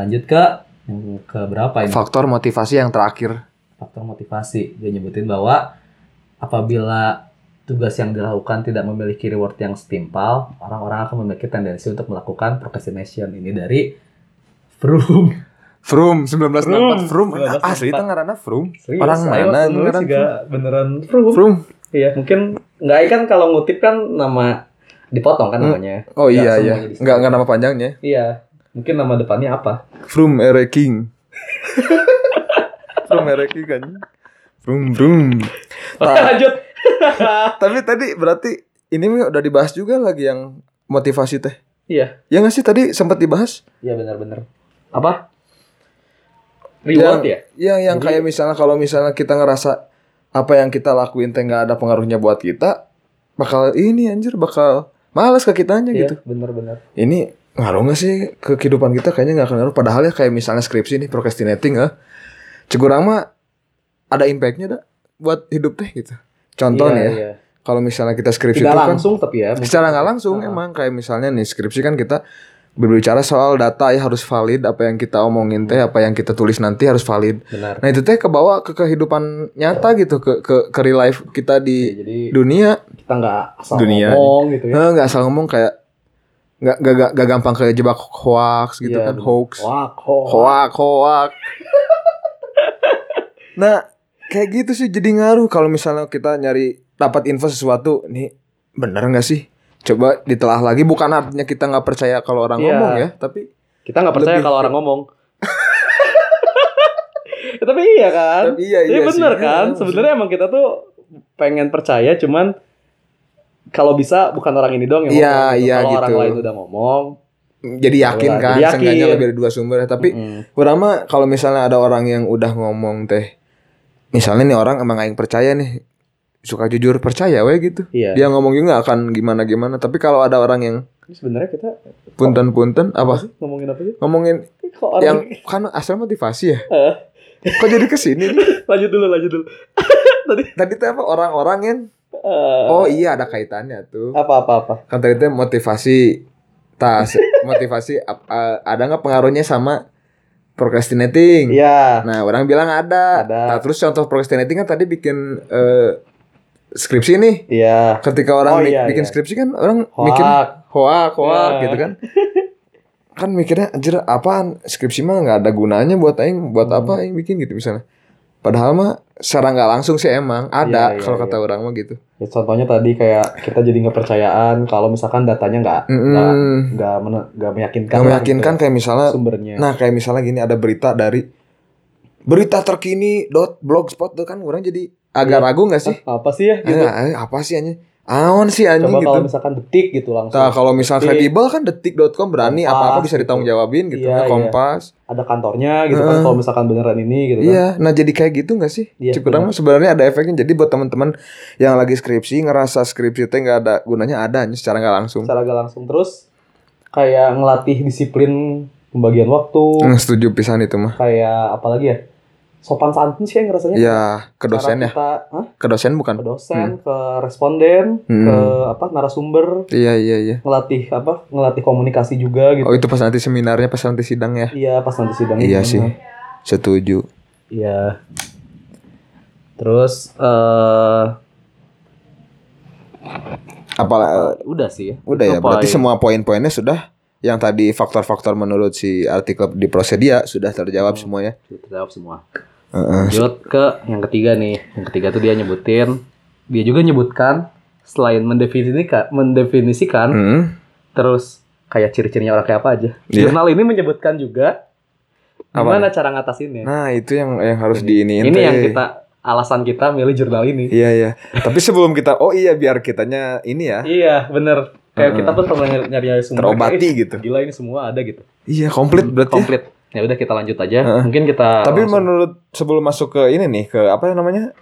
S2: lanjut ke yang ke berapa ini
S1: Faktor motivasi yang terakhir.
S2: faktor motivasi. Dia nyebutin bahwa apabila tugas yang dilakukan tidak memiliki reward yang setimpal, orang-orang akan memiliki tendensi untuk melakukan procrastination. Ini dari Froome.
S1: Frum 1964
S2: Frum.
S1: Frum
S2: 1964.
S1: asli itu ngaranna Frum
S2: Serius,
S1: Orang mana
S2: saya waktu nulis
S1: beneran?
S2: juga beneran Frum.
S1: Frum
S2: Iya, mungkin nggak kan kalau ngutip kan nama dipotong kan
S1: Hmm.
S2: namanya.
S1: oh
S2: Nggak
S1: iya
S2: semuanya
S1: iya
S2: di situ.
S1: nggak nggak nama panjangnya
S2: Iya, mungkin nama depannya apa?
S1: Frum Ere King Frum Ere King kan Frum Frum Ta-
S2: Lanjut.
S1: tapi tadi berarti ini Mi, udah dibahas juga lagi yang motivasi teh
S2: Iya.
S1: ya nggak sih tadi sempat dibahas
S2: Iya benar-benar. Apa? Reward ya?
S1: yang yang
S2: Jadi-
S1: kayak misalnya kalau misalnya kita ngerasa apa yang kita lakuin teh nggak ada pengaruhnya buat kita bakal ini anjir bakal malas ke kitanya
S2: Iya,
S1: gitu
S2: benar-benar.
S1: ini ngaruh nggak sih ke kehidupan kita kayaknya nggak akan ngaruh padahal ya kayak misalnya skripsi nih procrastinating eh cegurang mah ada impactnya dah buat hidup teh gitu contoh
S2: Iya,
S1: nih ya
S2: iya.
S1: kalau misalnya kita skripsi
S2: Tidak
S1: itu kan
S2: langsung tapi ya. mungkin.
S1: secara nggak langsung
S2: Ah.
S1: emang kayak misalnya nih skripsi kan kita berbicara soal data ya harus valid apa yang kita omongin teh apa yang kita tulis nanti harus valid
S2: Benar.
S1: nah itu teh kebawa ke kehidupan nyata gitu ke ke ke real life kita
S2: Iya,
S1: di
S2: jadi
S1: dunia
S2: kita nggak asal
S1: Dunia.
S2: ngomong gitu ya.
S1: Eh, nggak asal ngomong kayak nggak nggak nggak- nggak gampang kejebak hoax gitu
S2: Iya,
S1: kan hoax
S2: Wah, kok.
S1: hoak hoak nah kayak gitu sih jadi ngaruh kalau misalnya kita nyari dapat info sesuatu nih bener nggak sih coba ditelah lagi bukan artinya kita nggak percaya kalau orang
S2: Iya.
S1: ngomong ya tapi
S2: Kita nggak percaya
S1: Lebih-
S2: kalau orang ngomong. Ya, tapi iya kan.
S1: tapi iya
S2: Iya
S1: sih.
S2: bener
S1: Iya,
S2: kan.
S1: maksudnya-
S2: Sebenarnya emang kita tuh pengen percaya cuman kalau bisa bukan orang ini dong yang
S1: Iya,
S2: ngomong. gitu.
S1: iya
S2: kalau orang
S1: gitu.
S2: lain udah ngomong.
S1: jadi yakin
S2: Iya, Jadi
S1: kan
S2: yakin.
S1: seenggaknya lebih dari dua sumber ya, tapi
S2: mm-mm.
S1: Kurang mah kalau misalnya ada orang yang udah ngomong teh Misalnya nih orang emang aing percaya nih Suka jujur percaya we gitu
S2: iya.
S1: Dia ngomong juga nggak akan gimana-gimana Tapi kalau ada orang yang
S2: Tapi Sebenarnya kita
S1: punten-punten
S2: apa
S1: Apa?
S2: sih ngomongin apa sih?
S1: Ngomongin
S2: Kok orang
S1: yang kan asal motivasi ya
S2: Eh.
S1: Kok jadi kesini nih?
S2: lanjut dulu lanjut dulu.
S1: Tadi tuh apa orang-orang yang
S2: Eh,
S1: Oh iya ada kaitannya tuh
S2: apa apa apa.
S1: Kan tadi tuh motivasi Tas Motivasi ap- eh, ada nggak pengaruhnya sama Procrastinating
S2: Iya.
S1: Nah, orang bilang ada.
S2: Ada.
S1: Nah, terus contoh procrastinating kan tadi bikin eh, skripsi nih.
S2: Iya.
S1: Ketika orang
S2: Oh,
S1: bi-
S2: iya,
S1: bikin
S2: iya.
S1: skripsi kan orang mikir
S2: Hoak.
S1: hoak, hoak
S2: Iya.
S1: gitu kan. kan mikirnya anjir apaan skripsi mah nggak ada gunanya buat aing buat
S2: Hmm.
S1: apa aing bikin gitu misalnya. Padahal mah secara nggak langsung sih emang ada
S2: Iya, iya,
S1: kalau kata
S2: iya.
S1: orang mah gitu.
S2: Ya, contohnya tadi kayak kita jadi nggak percayaan kalau misalkan datanya nggak nggak
S1: Mm-mm.
S2: nggak mene- nggak meyakinkan.
S1: Nggak
S2: lah
S1: meyakinkan kayak
S2: gitu
S1: misalnya
S2: sumbernya.
S1: Nah kayak misalnya gini ada berita dari berita terkini dot blogspot tuh kan orang jadi agak
S2: Iya.
S1: ragu nggak sih?
S2: Ah, apa sih ya
S1: Ah,
S2: gitu.
S1: ah, apa sih anjing? Aon sih anjing
S2: Coba
S1: gitu.
S2: kalau misalkan detik gitu langsung.
S1: Nah, kalau misalnya
S2: Detik.
S1: kredibel kan detik.com berani
S2: Kompas,
S1: apa-apa bisa
S2: gitu.
S1: ditanggung jawabin gitu
S2: Iya,
S1: ya,
S2: iya.
S1: Kompas.
S2: Ada kantornya gitu kan
S1: Heeh.
S2: kalau misalkan beneran ini gitu kan.
S1: Iya, nah jadi kayak gitu nggak sih?
S2: Iya,
S1: Cukurang mah sebenarnya ada efeknya. Jadi buat teman-teman yang lagi skripsi ngerasa skripsi teh nggak ada gunanya ada anjing, secara nggak langsung.
S2: Secara nggak langsung terus kayak ngelatih disiplin pembagian waktu,
S1: Hmm, setuju pisan itu mah.
S2: kayak apalagi ya? Sopan santun sih yang rasanya.
S1: Ya, ke
S2: Iya. Cara
S1: dosen ya.
S2: Kita, Hah?
S1: Ke dosen
S2: ke
S1: bukan?
S2: dosen, ke responden, ke
S1: Hmm.
S2: apa narasumber,
S1: Iya, iya, iya.
S2: ngelatih apa? Ngelatih komunikasi juga gitu.
S1: Oh, itu pas nanti seminarnya, pas nanti sidang ya.
S2: Iya, pas nanti sidang
S1: Iya
S2: ini.
S1: sih. Setuju.
S2: Iya. Terus eh
S1: Apalah
S2: udah sih ya.
S1: Udah
S5: Itu
S1: ya, berarti
S5: poin.
S1: semua poin-poinnya sudah yang tadi faktor-faktor menurut si artikel di prosedia sudah
S5: Hmm.
S1: terjawab
S2: ya?
S1: semuanya.
S5: terjawab semua
S1: Heeh.
S5: lanjut ke yang ketiga nih yang ketiga tuh dia nyebutin dia juga nyebutkan selain mendefinisikan mendefinisikan
S1: Hmm.
S5: terus kayak ciri-cirinya orang kayak apa aja
S1: Iya.
S5: jurnal ini menyebutkan juga
S1: Apa
S5: gimana cara ngatasinnya
S1: Nah, itu yang yang harus
S5: Ini-
S1: diiniin.
S5: ini
S1: teh.
S5: yang kita alasan kita milih jurnal ini
S1: Iya, iya. Tapi sebelum kita oh iya biar kitanya ini ya
S5: iya bener
S1: Heeh.
S5: kayak kita pun pernah nyari-nyari sumber
S1: Hmm. terobati
S5: kayak,
S1: gitu.
S5: "Ih, gila ini semua ada gitu
S1: Iya, komplit berarti. ya.
S5: komplit ya udah kita lanjut aja
S1: Heeh.
S5: mungkin kita
S1: Tapi
S5: langsung
S1: menurut sebelum masuk ke ini nih, ke apa namanya?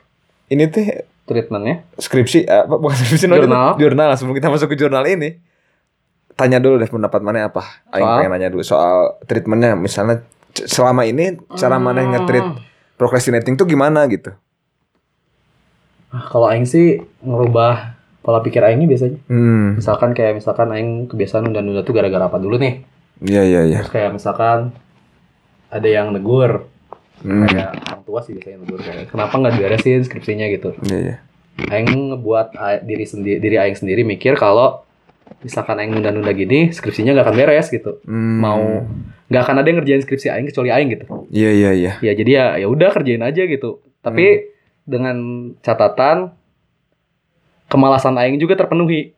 S1: Ini teh
S5: treatmentnya
S1: skripsi eh, apa bukan skripsi namanya
S5: Jurnal.
S1: tuh, jurnal sebelum kita masuk ke jurnal ini tanya dulu deh pendapat mana apa Aing
S5: Soal?
S1: pengen nanya dulu soal treatmentnya misalnya c- selama ini cara mana yang nge-treat
S2: Hmm.
S1: procrastinating tuh gimana gitu
S2: ah, kalau aing sih ngerubah pola pikir aingnya biasanya.
S1: hmm
S2: Misalkan kayak misalkan aing kebiasaan nunda-nunda tuh gara-gara apa dulu nih?
S1: iya iya iya
S2: Terus kayak misalkan ada yang negur,
S1: Hmm,
S2: kayak orang tua sih biasanya negur kayak kenapa nggak diberesin skripsinya gitu.
S1: iya iya
S2: aing ngebuat a- diri sendiri diri aing sendiri mikir kalau misalkan aing nunda-nunda gini skripsinya nggak akan beres gitu
S1: Hmm.
S2: Mau. nggak akan ada yang ngerjain skripsi aing kecuali aing gitu
S1: Iya iya iya.
S2: ya jadi ya ya udah kerjain aja
S1: Hmm.
S2: gitu tapi dengan catatan kemalasan aing juga terpenuhi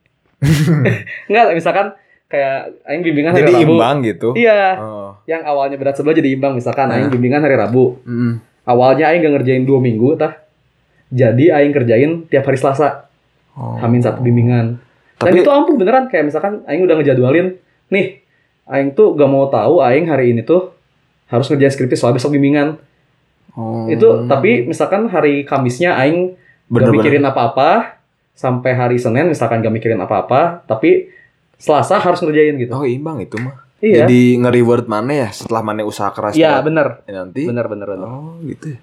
S2: nggak misalkan kayak aing bimbingan hari
S1: Jadi
S2: Rabu
S1: imbang gitu.
S2: Kan iya
S1: Oh.
S2: yang awalnya berat sebelah jadi imbang misalkan
S1: Nah.
S2: aing bimbingan hari Rabu
S1: Mm.
S2: awalnya aing gak ngerjain dua minggu tah jadi aing kerjain tiap hari Selasa
S1: Oh.
S2: hamin satu bimbingan dan
S1: Tapi
S2: itu ampuh beneran kayak misalkan aing udah ngejadwalin nih aing tuh gak mau tahu aing hari ini tuh harus ngerjain skripsi soal besok bimbingan
S1: Oh.
S2: itu tapi misalkan hari Kamisnya aing gak
S1: Bener-bener.
S2: mikirin apa-apa sampai hari Senin misalkan gak mikirin apa-apa tapi Selasa harus ngerjain gitu
S1: Oh imbang itu mah.
S2: iya
S1: Jadi nge-reward mana ya setelah mana usaha keras
S2: iya
S1: benar
S2: bener
S1: nanti.
S2: bener bener bener
S1: Oh gitu. ya.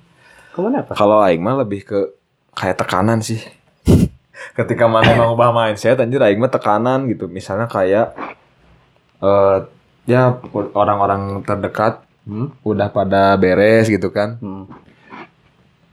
S2: kemana apa
S1: Kalau aing mah lebih ke kayak tekanan sih. Ketika mana mau ubah mindset anjir aing mah tekanan gitu. Misalnya kayak eh ya orang-orang terdekat
S2: Hmm.
S1: udah pada beres gitu kan.
S2: Hmm.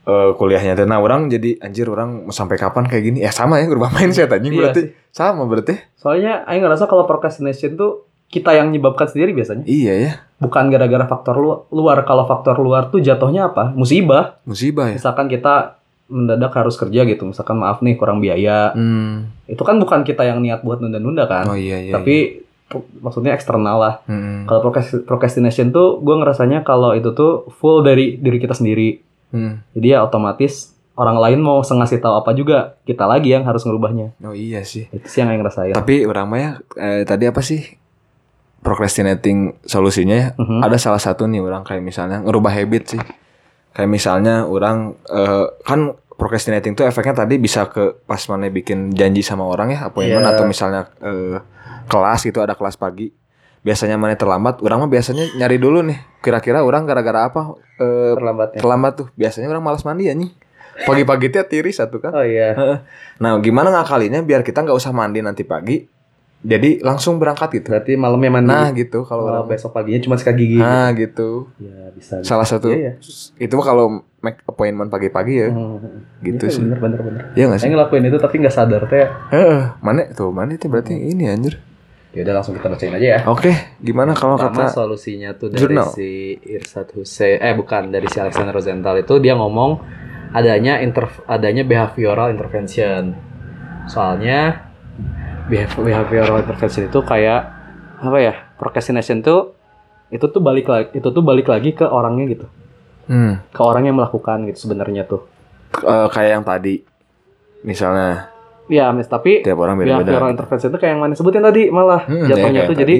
S1: eh, kuliahnya teh nah orang jadi anjir orang sampai kapan kayak gini ya sama ya berubah mindset anjing
S2: Iya
S1: berarti sama berarti
S2: Soalnya Aing ngerasa kalau procrastination tuh kita yang nyebabkan sendiri biasanya.
S1: iya ya
S2: Bukan gara-gara faktor lu- luar. Kalau faktor luar tuh jatuhnya apa? Musibah.
S1: musibah ya
S2: Misalkan kita mendadak harus kerja gitu. Misalkan maaf nih kurang biaya.
S1: hmm.
S2: Itu kan bukan kita yang niat buat nunda-nunda kan.
S1: oh iya iya
S2: Tapi pu- maksudnya eksternal lah.
S1: iya. Hmm.
S2: Kalau procrast- procrastination tuh gue ngerasanya kalau itu tuh full dari diri kita sendiri.
S1: Hmm.
S2: Jadi ya otomatis orang lain mau sengasih tahu apa juga. Kita lagi yang harus ngerubahnya.
S1: oh iya sih
S2: Itu sih yang Aing ngerasain.
S1: tapi orang mah ya eh, tadi apa sih procrastinating solusinya ya
S2: Mhm.
S1: ada salah satu nih orang kayak misalnya ngerubah habit sih kayak misalnya orang eh, kan procrastinating tuh efeknya tadi bisa ke pas mana bikin janji sama orang ya appointment
S2: Iya.
S1: atau misalnya eh, kelas gitu ada kelas pagi biasanya mana terlambat orang mah biasanya nyari dulu nih kira-kira orang gara-gara apa eh,
S2: Terlambatnya.
S1: terlambat tuh biasanya orang malas mandi anjing pagi-pagi tuh tiris satu kan
S2: Oh iya.
S1: nah gimana ngakalinya biar kita nggak usah mandi nanti pagi jadi langsung berangkat gitu
S2: Berarti malamnya mandi.
S1: nah gitu kalau
S2: Kalau
S1: orang
S2: besok paginya cuma sikat gigi.
S1: nah gitu
S2: Ya bisa. bisa.
S1: salah satu
S2: Iya,
S1: itu mah kalau make appointment pagi-pagi ya
S2: Hmm.
S1: gitu
S2: Iya,
S1: sih
S2: Bener bener bener.
S1: ya nggak sih
S2: Saya ngelakuin itu tapi nggak sadar teh.
S1: Heeh, mana tuh mana itu berarti ini anjir
S2: Ya udah langsung kita bacain aja ya.
S1: oke gimana kalau
S2: Pertama
S1: Oh, kata
S2: solusinya tuh dari
S1: Jurnal.
S2: si Irsad Hussein eh bukan dari si Alexander Rosenthal itu dia ngomong adanya inter- adanya behavioral intervention. Soalnya behav- behavioral intervention itu kayak apa ya? Procrastination tuh itu tuh balik lagi itu tuh balik lagi ke orangnya gitu.
S1: hmm,
S2: Ke orang yang melakukan gitu sebenarnya tuh.
S1: eh, kayak yang tadi misalnya
S2: Ya, mis tapi
S1: tiap orang
S2: behavioral
S1: Iya, beda-beda
S2: intervention itu Iya, kayak yang mana sebutin tadi malah
S1: Hmm, ya,
S2: jatuhnya
S1: kayak
S2: tuh jadi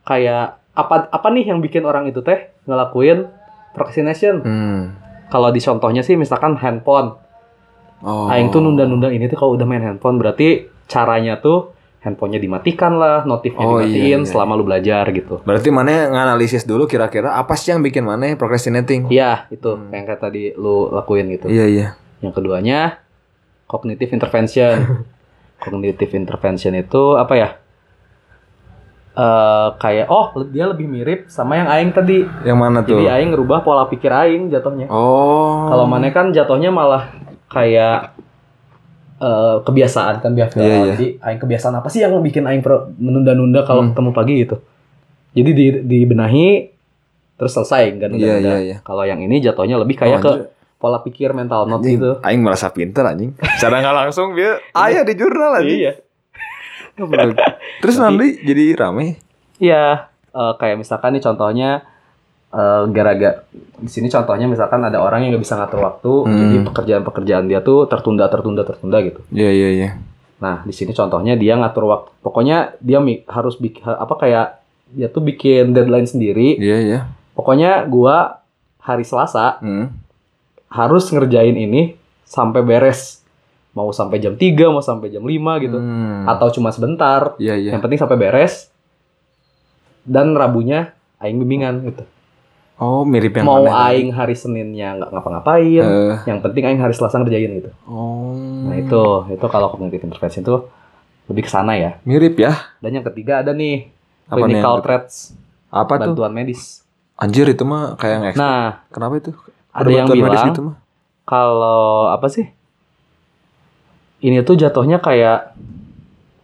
S2: kayak apa apa nih yang bikin orang itu teh ngelakuin procrastination
S1: hmm.
S2: kalau di contohnya sih misalkan handphone
S1: oh
S2: aing tuh nunda-nunda ini tuh kalau udah main handphone berarti caranya tuh handphonenya dimatikan lah notifnya
S1: Oh, iya,
S2: dimatiin
S1: iya.
S2: selama lu belajar gitu
S1: berarti mana nganalisis dulu kira-kira apa sih yang bikin mana procrastinating
S2: Iya, itu
S1: Hmm.
S2: kayak yang kayak tadi lu lakuin gitu.
S1: iya iya
S2: Yang keduanya cognitive intervention. cognitive intervention itu apa ya? Eh kayak oh le- dia lebih mirip sama yang aing tadi.
S1: yang mana tuh
S2: Jadi aing ngerubah pola pikir aing jatuhnya.
S1: oh
S2: Kalau mana kan jatuhnya malah kayak eh, kebiasaan kan biasa.
S1: Iya, iya.
S2: Jadi aing kebiasaan apa sih yang bikin aing pro- menunda-nunda kalau
S1: Hmm.
S2: ketemu pagi gitu. Jadi di dibenahi terus selesai nggak
S1: iya
S2: nunda-nunda.
S1: iya iya
S2: Kalau yang ini jatuhnya lebih
S1: Oh,
S2: kayak ke
S1: anjir.
S2: pola pikir mental not
S1: Anjing,
S2: gitu.
S1: Aing merasa pinter anjing. Secara nggak langsung dia ayah di jurnal anjing.
S2: Iya.
S1: Terus
S2: Tapi-
S1: nanti jadi rame.
S2: Iya, eh, kayak misalkan nih contohnya eh, gara-gara di sini contohnya misalkan ada orang yang nggak bisa ngatur waktu,
S1: Hmm.
S2: jadi pekerjaan-pekerjaan dia tuh tertunda, tertunda, tertunda gitu.
S1: Iya iya iya.
S2: Nah, di sini contohnya dia ngatur waktu. Pokoknya dia mi- harus bikin apa kayak dia tuh bikin deadline sendiri.
S1: Iya iya.
S2: Pokoknya gua hari Selasa
S1: Hmm.
S2: harus ngerjain ini sampai beres. Mau sampai jam 3, mau sampai jam 5 gitu.
S1: Hmm.
S2: Atau cuma sebentar.
S1: Iya iya.
S2: Yang penting sampai beres. Dan Rabunya aing bimbingan gitu.
S1: Oh mirip yang
S2: Mau
S1: mana tadi?
S2: aing hari Seninnya nggak ngapa-ngapain.
S1: Eh,
S2: Yang penting aing hari Selasa ngerjain gitu.
S1: oh.
S2: Nah itu itu kalau cognitive intervention itu lebih ke sana ya.
S1: mirip ya.
S2: Dan yang ketiga ada nih
S1: Apa nih?
S2: clinical
S1: yang-
S2: threats
S1: Apa tuh?
S2: bantuan medis.
S1: Anjir itu mah kayak yang eks-
S2: Nah,
S1: Kenapa itu?
S2: ada yang
S1: Bantuan medis
S2: bilang
S1: gitu mah.
S2: kalau apa sih? Ini tuh jatuhnya kayak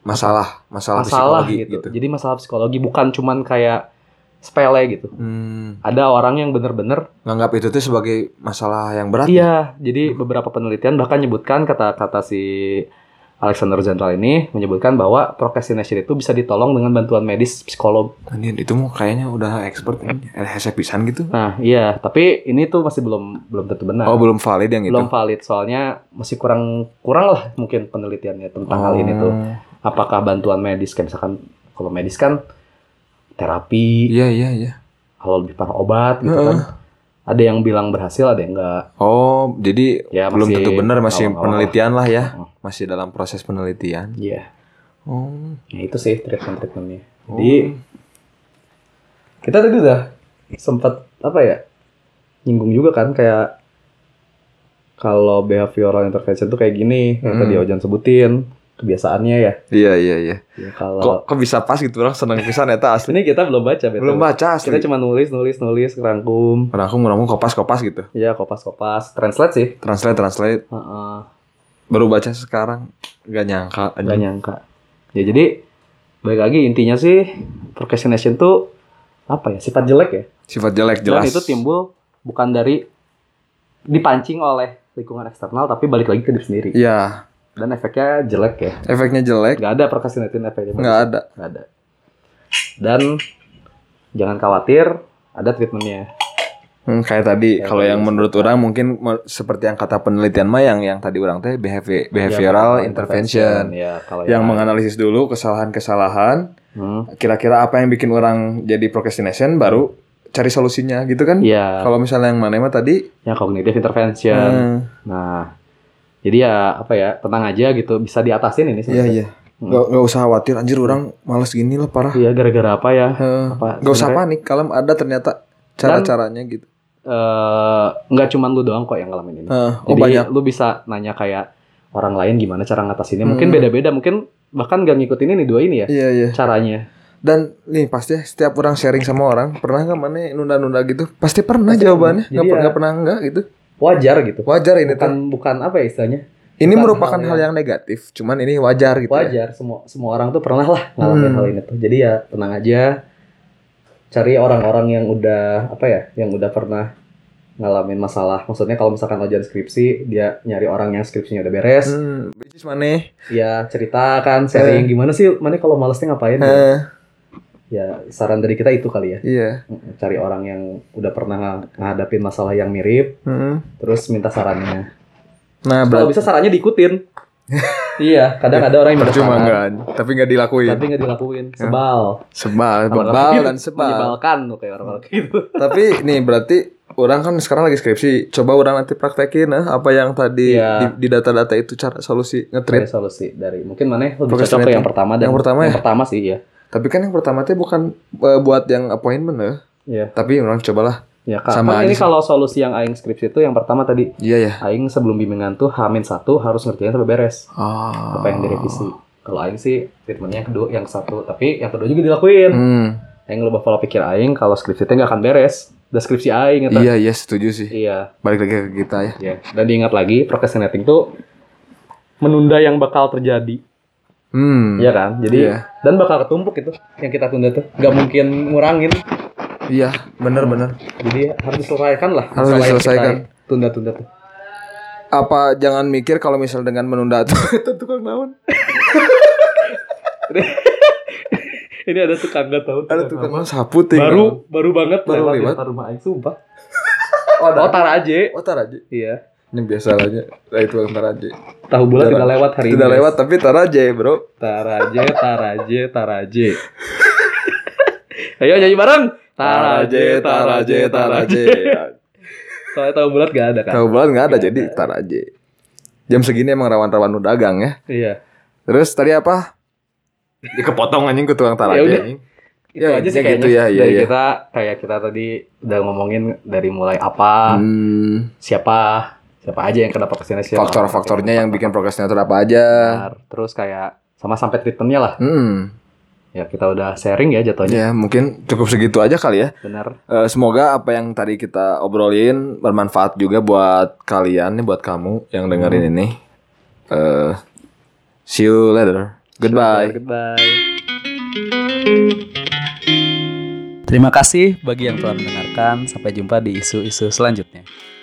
S1: masalah masalah,
S2: masalah
S1: psikologi
S2: gitu. Jadi masalah psikologi bukan cuman kayak sepele gitu.
S1: Hmm,
S2: Ada orang yang bener-bener
S1: nganggap itu tuh sebagai masalah yang berat. ya?
S2: iya. Jadi beberapa penelitian bahkan nyebutkan kata-kata si Alexander Zentral ini menyebutkan bahwa procrastination itu bisa ditolong dengan bantuan medis psikolog.
S1: Anjing, ya? itu mah kayaknya udah expert ini, hesek pisan gitu.
S2: Nah, iya, tapi ini tuh masih belum belum tentu benar.
S1: Oh, belum valid yang itu.
S2: Nah, belum valid soalnya masih kurang kurang lah mungkin penelitiannya tentang hal ini
S1: Hmm.
S2: tuh.
S1: Oh.
S2: Apakah bantuan medis kayak misalkan kalau medis kan terapi,
S1: Iya, iya, iya.
S2: kalau lebih parah obat gitu kan. Ada yang bilang berhasil, ada yang enggak.
S1: Oh, jadi
S2: Ya,
S1: belum tentu benar masih
S2: awal-awal.
S1: penelitian lah ya.
S2: Heeh.
S1: Masih dalam proses penelitian.
S2: Iya.
S1: Oh.
S2: Ya itu sih treatment-treatmentnya. Jadi kita tadi udah sempat apa ya? Nyinggung juga kan kayak kalau behavioral intervention tuh kayak gini, yang
S1: Hmm.
S2: tadi Ojan sebutin, kebiasaannya ya.
S1: Iya, iya, iya.
S2: Ya
S1: Kok
S2: kalau
S1: kok bisa pas gitu orang seneng pisan eta asli.
S2: ini kita belum baca, Beto.
S1: Belum baca asli.
S2: Kita cuma nulis, nulis, nulis, rangkum,
S1: Orang aku ngomong kopas-kopas gitu.
S2: ya kopas-kopas, translate sih.
S1: Translate translate
S2: Heeh.
S1: baru baca sekarang gak nyangka
S2: nggak
S1: anjing.
S2: nyangka ya jadi baik lagi intinya sih procrastination tuh apa ya sifat jelek ya
S1: Sifat jelek
S2: dan
S1: jelas.
S2: itu timbul bukan dari dipancing oleh lingkungan eksternal tapi balik lagi ke diri sendiri
S1: Iya,
S2: dan efeknya jelek ya
S1: efeknya jelek
S2: nggak ada procrastination efeknya
S1: nggak ada.
S2: Nggak ada dan jangan khawatir ada treatmentnya
S1: Hmm, kayak tadi
S2: Kayak
S1: kalau
S2: tadi
S1: yang
S2: yang
S1: menurut orang mungkin me- seperti yang kata penelitian mah yang yang tadi orang teh behavi- behavioral intervention
S2: ya kalau
S1: yang menganalisis dulu kesalahan-kesalahan
S2: Hmm,
S1: kira-kira apa yang bikin orang jadi procrastination baru cari solusinya gitu kan
S2: ya
S1: kalau misalnya yang mana mah tadi
S2: yang cognitive intervention
S1: eh,
S2: nah jadi ya apa ya tenang aja gitu bisa diatasin ini
S1: iya
S2: sebenarnya.
S1: iya
S2: Hmm.
S1: nggak nggak usah khawatir anjir orang males gini lah parah
S2: Iya gara-gara apa ya?
S1: Eh,
S2: Apa?
S1: nggak usah
S2: sebenarnya,
S1: panik kalau ada ternyata cara-caranya gitu
S2: eh, nggak cuman lu doang kok yang ngalamin ini.
S1: Eh, oh
S2: Jadi
S1: banyak
S2: lu bisa nanya kayak orang lain gimana cara ngatasinnya. Mungkin
S1: Hmm.
S2: beda-beda, mungkin bahkan gak ngikutin ini dua ini ya
S1: iya iya
S2: caranya.
S1: Dan nih pasti setiap orang sharing sama orang pernah nggak mana nunda-nunda gitu? Pasti pernah
S2: Pasti
S1: jawabannya.
S2: pernah.
S1: Nggak
S2: Jadi
S1: per-
S2: ya-
S1: nggak pernah enggak gitu.
S2: Wajar gitu.
S1: Wajar ini tuh.
S2: Bukan bukan apa ya istilahnya?
S1: Ini
S2: bukan
S1: merupakan
S2: hal
S1: hal yang negatif. Cuman ini wajar gitu. ya.
S2: Wajar semua semua orang tuh pernah lah ngalamin
S1: Hmm.
S2: hal ini tuh. Jadi ya tenang aja. Cari orang-orang yang udah apa ya, yang udah pernah ngalamin masalah. Maksudnya kalau misalkan ujian skripsi, dia nyari orang yang skripsinya udah beres.
S1: Hmm, which is mana?
S2: ya ceritakan sharing gimana sih mana kalau malesnya ngapain ya?
S1: Eh,
S2: ya saran dari kita itu kali ya
S1: iya.
S2: cari orang yang udah pernah nga- ngadapin masalah yang mirip
S1: Hmm.
S2: terus minta sarannya
S1: Nah,
S2: kalau
S1: berarti
S2: bisa sarannya diikutin iya kadang ada orang yang minta
S1: cuma
S2: saran
S1: kan, tapi nggak dilakuin.
S2: tapi nggak dilakuin sebal
S1: Sebal,
S2: Orang-orang
S1: bebal
S2: gitu
S1: dan sebal.
S2: menyebalkan tuh kayak orang-orang kayak gitu
S1: tapi nih berarti orang kan sekarang lagi skripsi. Coba orang nanti praktekin eh, apa yang tadi
S2: Iya.
S1: di, di data-data itu cara solusi
S2: Cari
S1: ngetrit.
S2: solusi dari mungkin mana lebih
S1: Procrastinating.
S2: cocok ke yang pertama dan
S1: Yang pertama ya?
S2: pertama sih ya
S1: Tapi kan yang pertama tuh bukan eh, buat yang appointment ya.
S2: Iya.
S1: Tapi orang cobalah.
S2: ya Kak.
S1: Sama
S2: Kan
S1: aja
S2: ini
S1: sih.
S2: kalau solusi yang aing skripsi itu yang pertama tadi
S1: Iya ya.
S2: aing sebelum bimbingan tuh hamin satu harus ngerjain sampai beres
S1: Ah.
S2: apa yang direvisi kalau aing sih treatmentnya yang kedua yang satu tapi yang kedua juga dilakuin
S1: Hmm,
S2: aing ngelubah pola pikir aing kalau skripsi teh nggak akan beres udah skripsi aing eta.
S1: iya iya setuju sih.
S2: iya
S1: Balik lagi ke kita ya.
S2: iya. dan diingat lagi procrastinating tuh menunda yang bakal terjadi
S1: Hmm.
S2: Iya kan jadi
S1: Iya.
S2: dan bakal ketumpuk itu yang kita tunda tuh nggak mungkin ngurangin
S1: Iya, bener bener.
S2: jadi ya, harus diselesaikan lah
S1: Harus
S2: masalah yang kita
S1: diselesaikan.
S2: tunda-tunda tuh
S1: Apa jangan mikir kalau misal dengan menunda tuh itu tukang naon?
S2: ini ada tukang nggak tahu
S1: Ada tukang naon ya. sapu ting.
S2: baru baru banget
S1: Baru
S2: lewat di
S1: lewat.
S2: depan rumah aing sumpah
S1: oh, ada.
S2: oh tar aja
S1: Oh, tar aja.
S2: iya
S1: Ini biasa aja. Nah, itu orang tar aja.
S2: Tahu bulat
S1: Jarang.
S2: tidak lewat hari ini.
S1: Tidak lewat tapi tar aja, Bro.
S2: Taraje, taraje, taraje. Ayo nyanyi bareng. Taraje, taraje, taraje. Soalnya tahu bulat gak ada kan?
S1: Tahu banget nggak ada
S2: Nggak
S1: jadi tar aja. Jam segini emang rawan-rawan nu dagang ya.
S2: Iya.
S1: Terus tadi apa? Ya kepotong anjing ke tukang tar
S2: Ya udah.
S1: aja. anjing.
S2: Itu
S1: Ya,
S2: aja sih
S1: intinya
S2: kayaknya.
S1: gitu ya, iya,
S2: dari
S1: iya.
S2: kita kayak kita tadi udah ngomongin dari mulai apa,
S1: Hmm,
S2: siapa, siapa aja yang kena procrastination.
S1: faktor-faktornya yang bikin procrastinator apa aja.
S2: Benar. Terus kayak sama sampai treatmentnya lah.
S1: Hmm.
S2: Ya kita udah sharing ya jatuhnya.
S1: Ya, mungkin cukup segitu aja kali ya.
S2: Benar.
S1: Eh, semoga apa yang tadi kita obrolin bermanfaat juga buat Hmm. kalian, nih buat kamu yang dengerin ini. Eh, see you later. Goodbye.
S2: Goodbye. Terima kasih bagi yang telah mendengarkan. Sampai jumpa di isu-isu selanjutnya.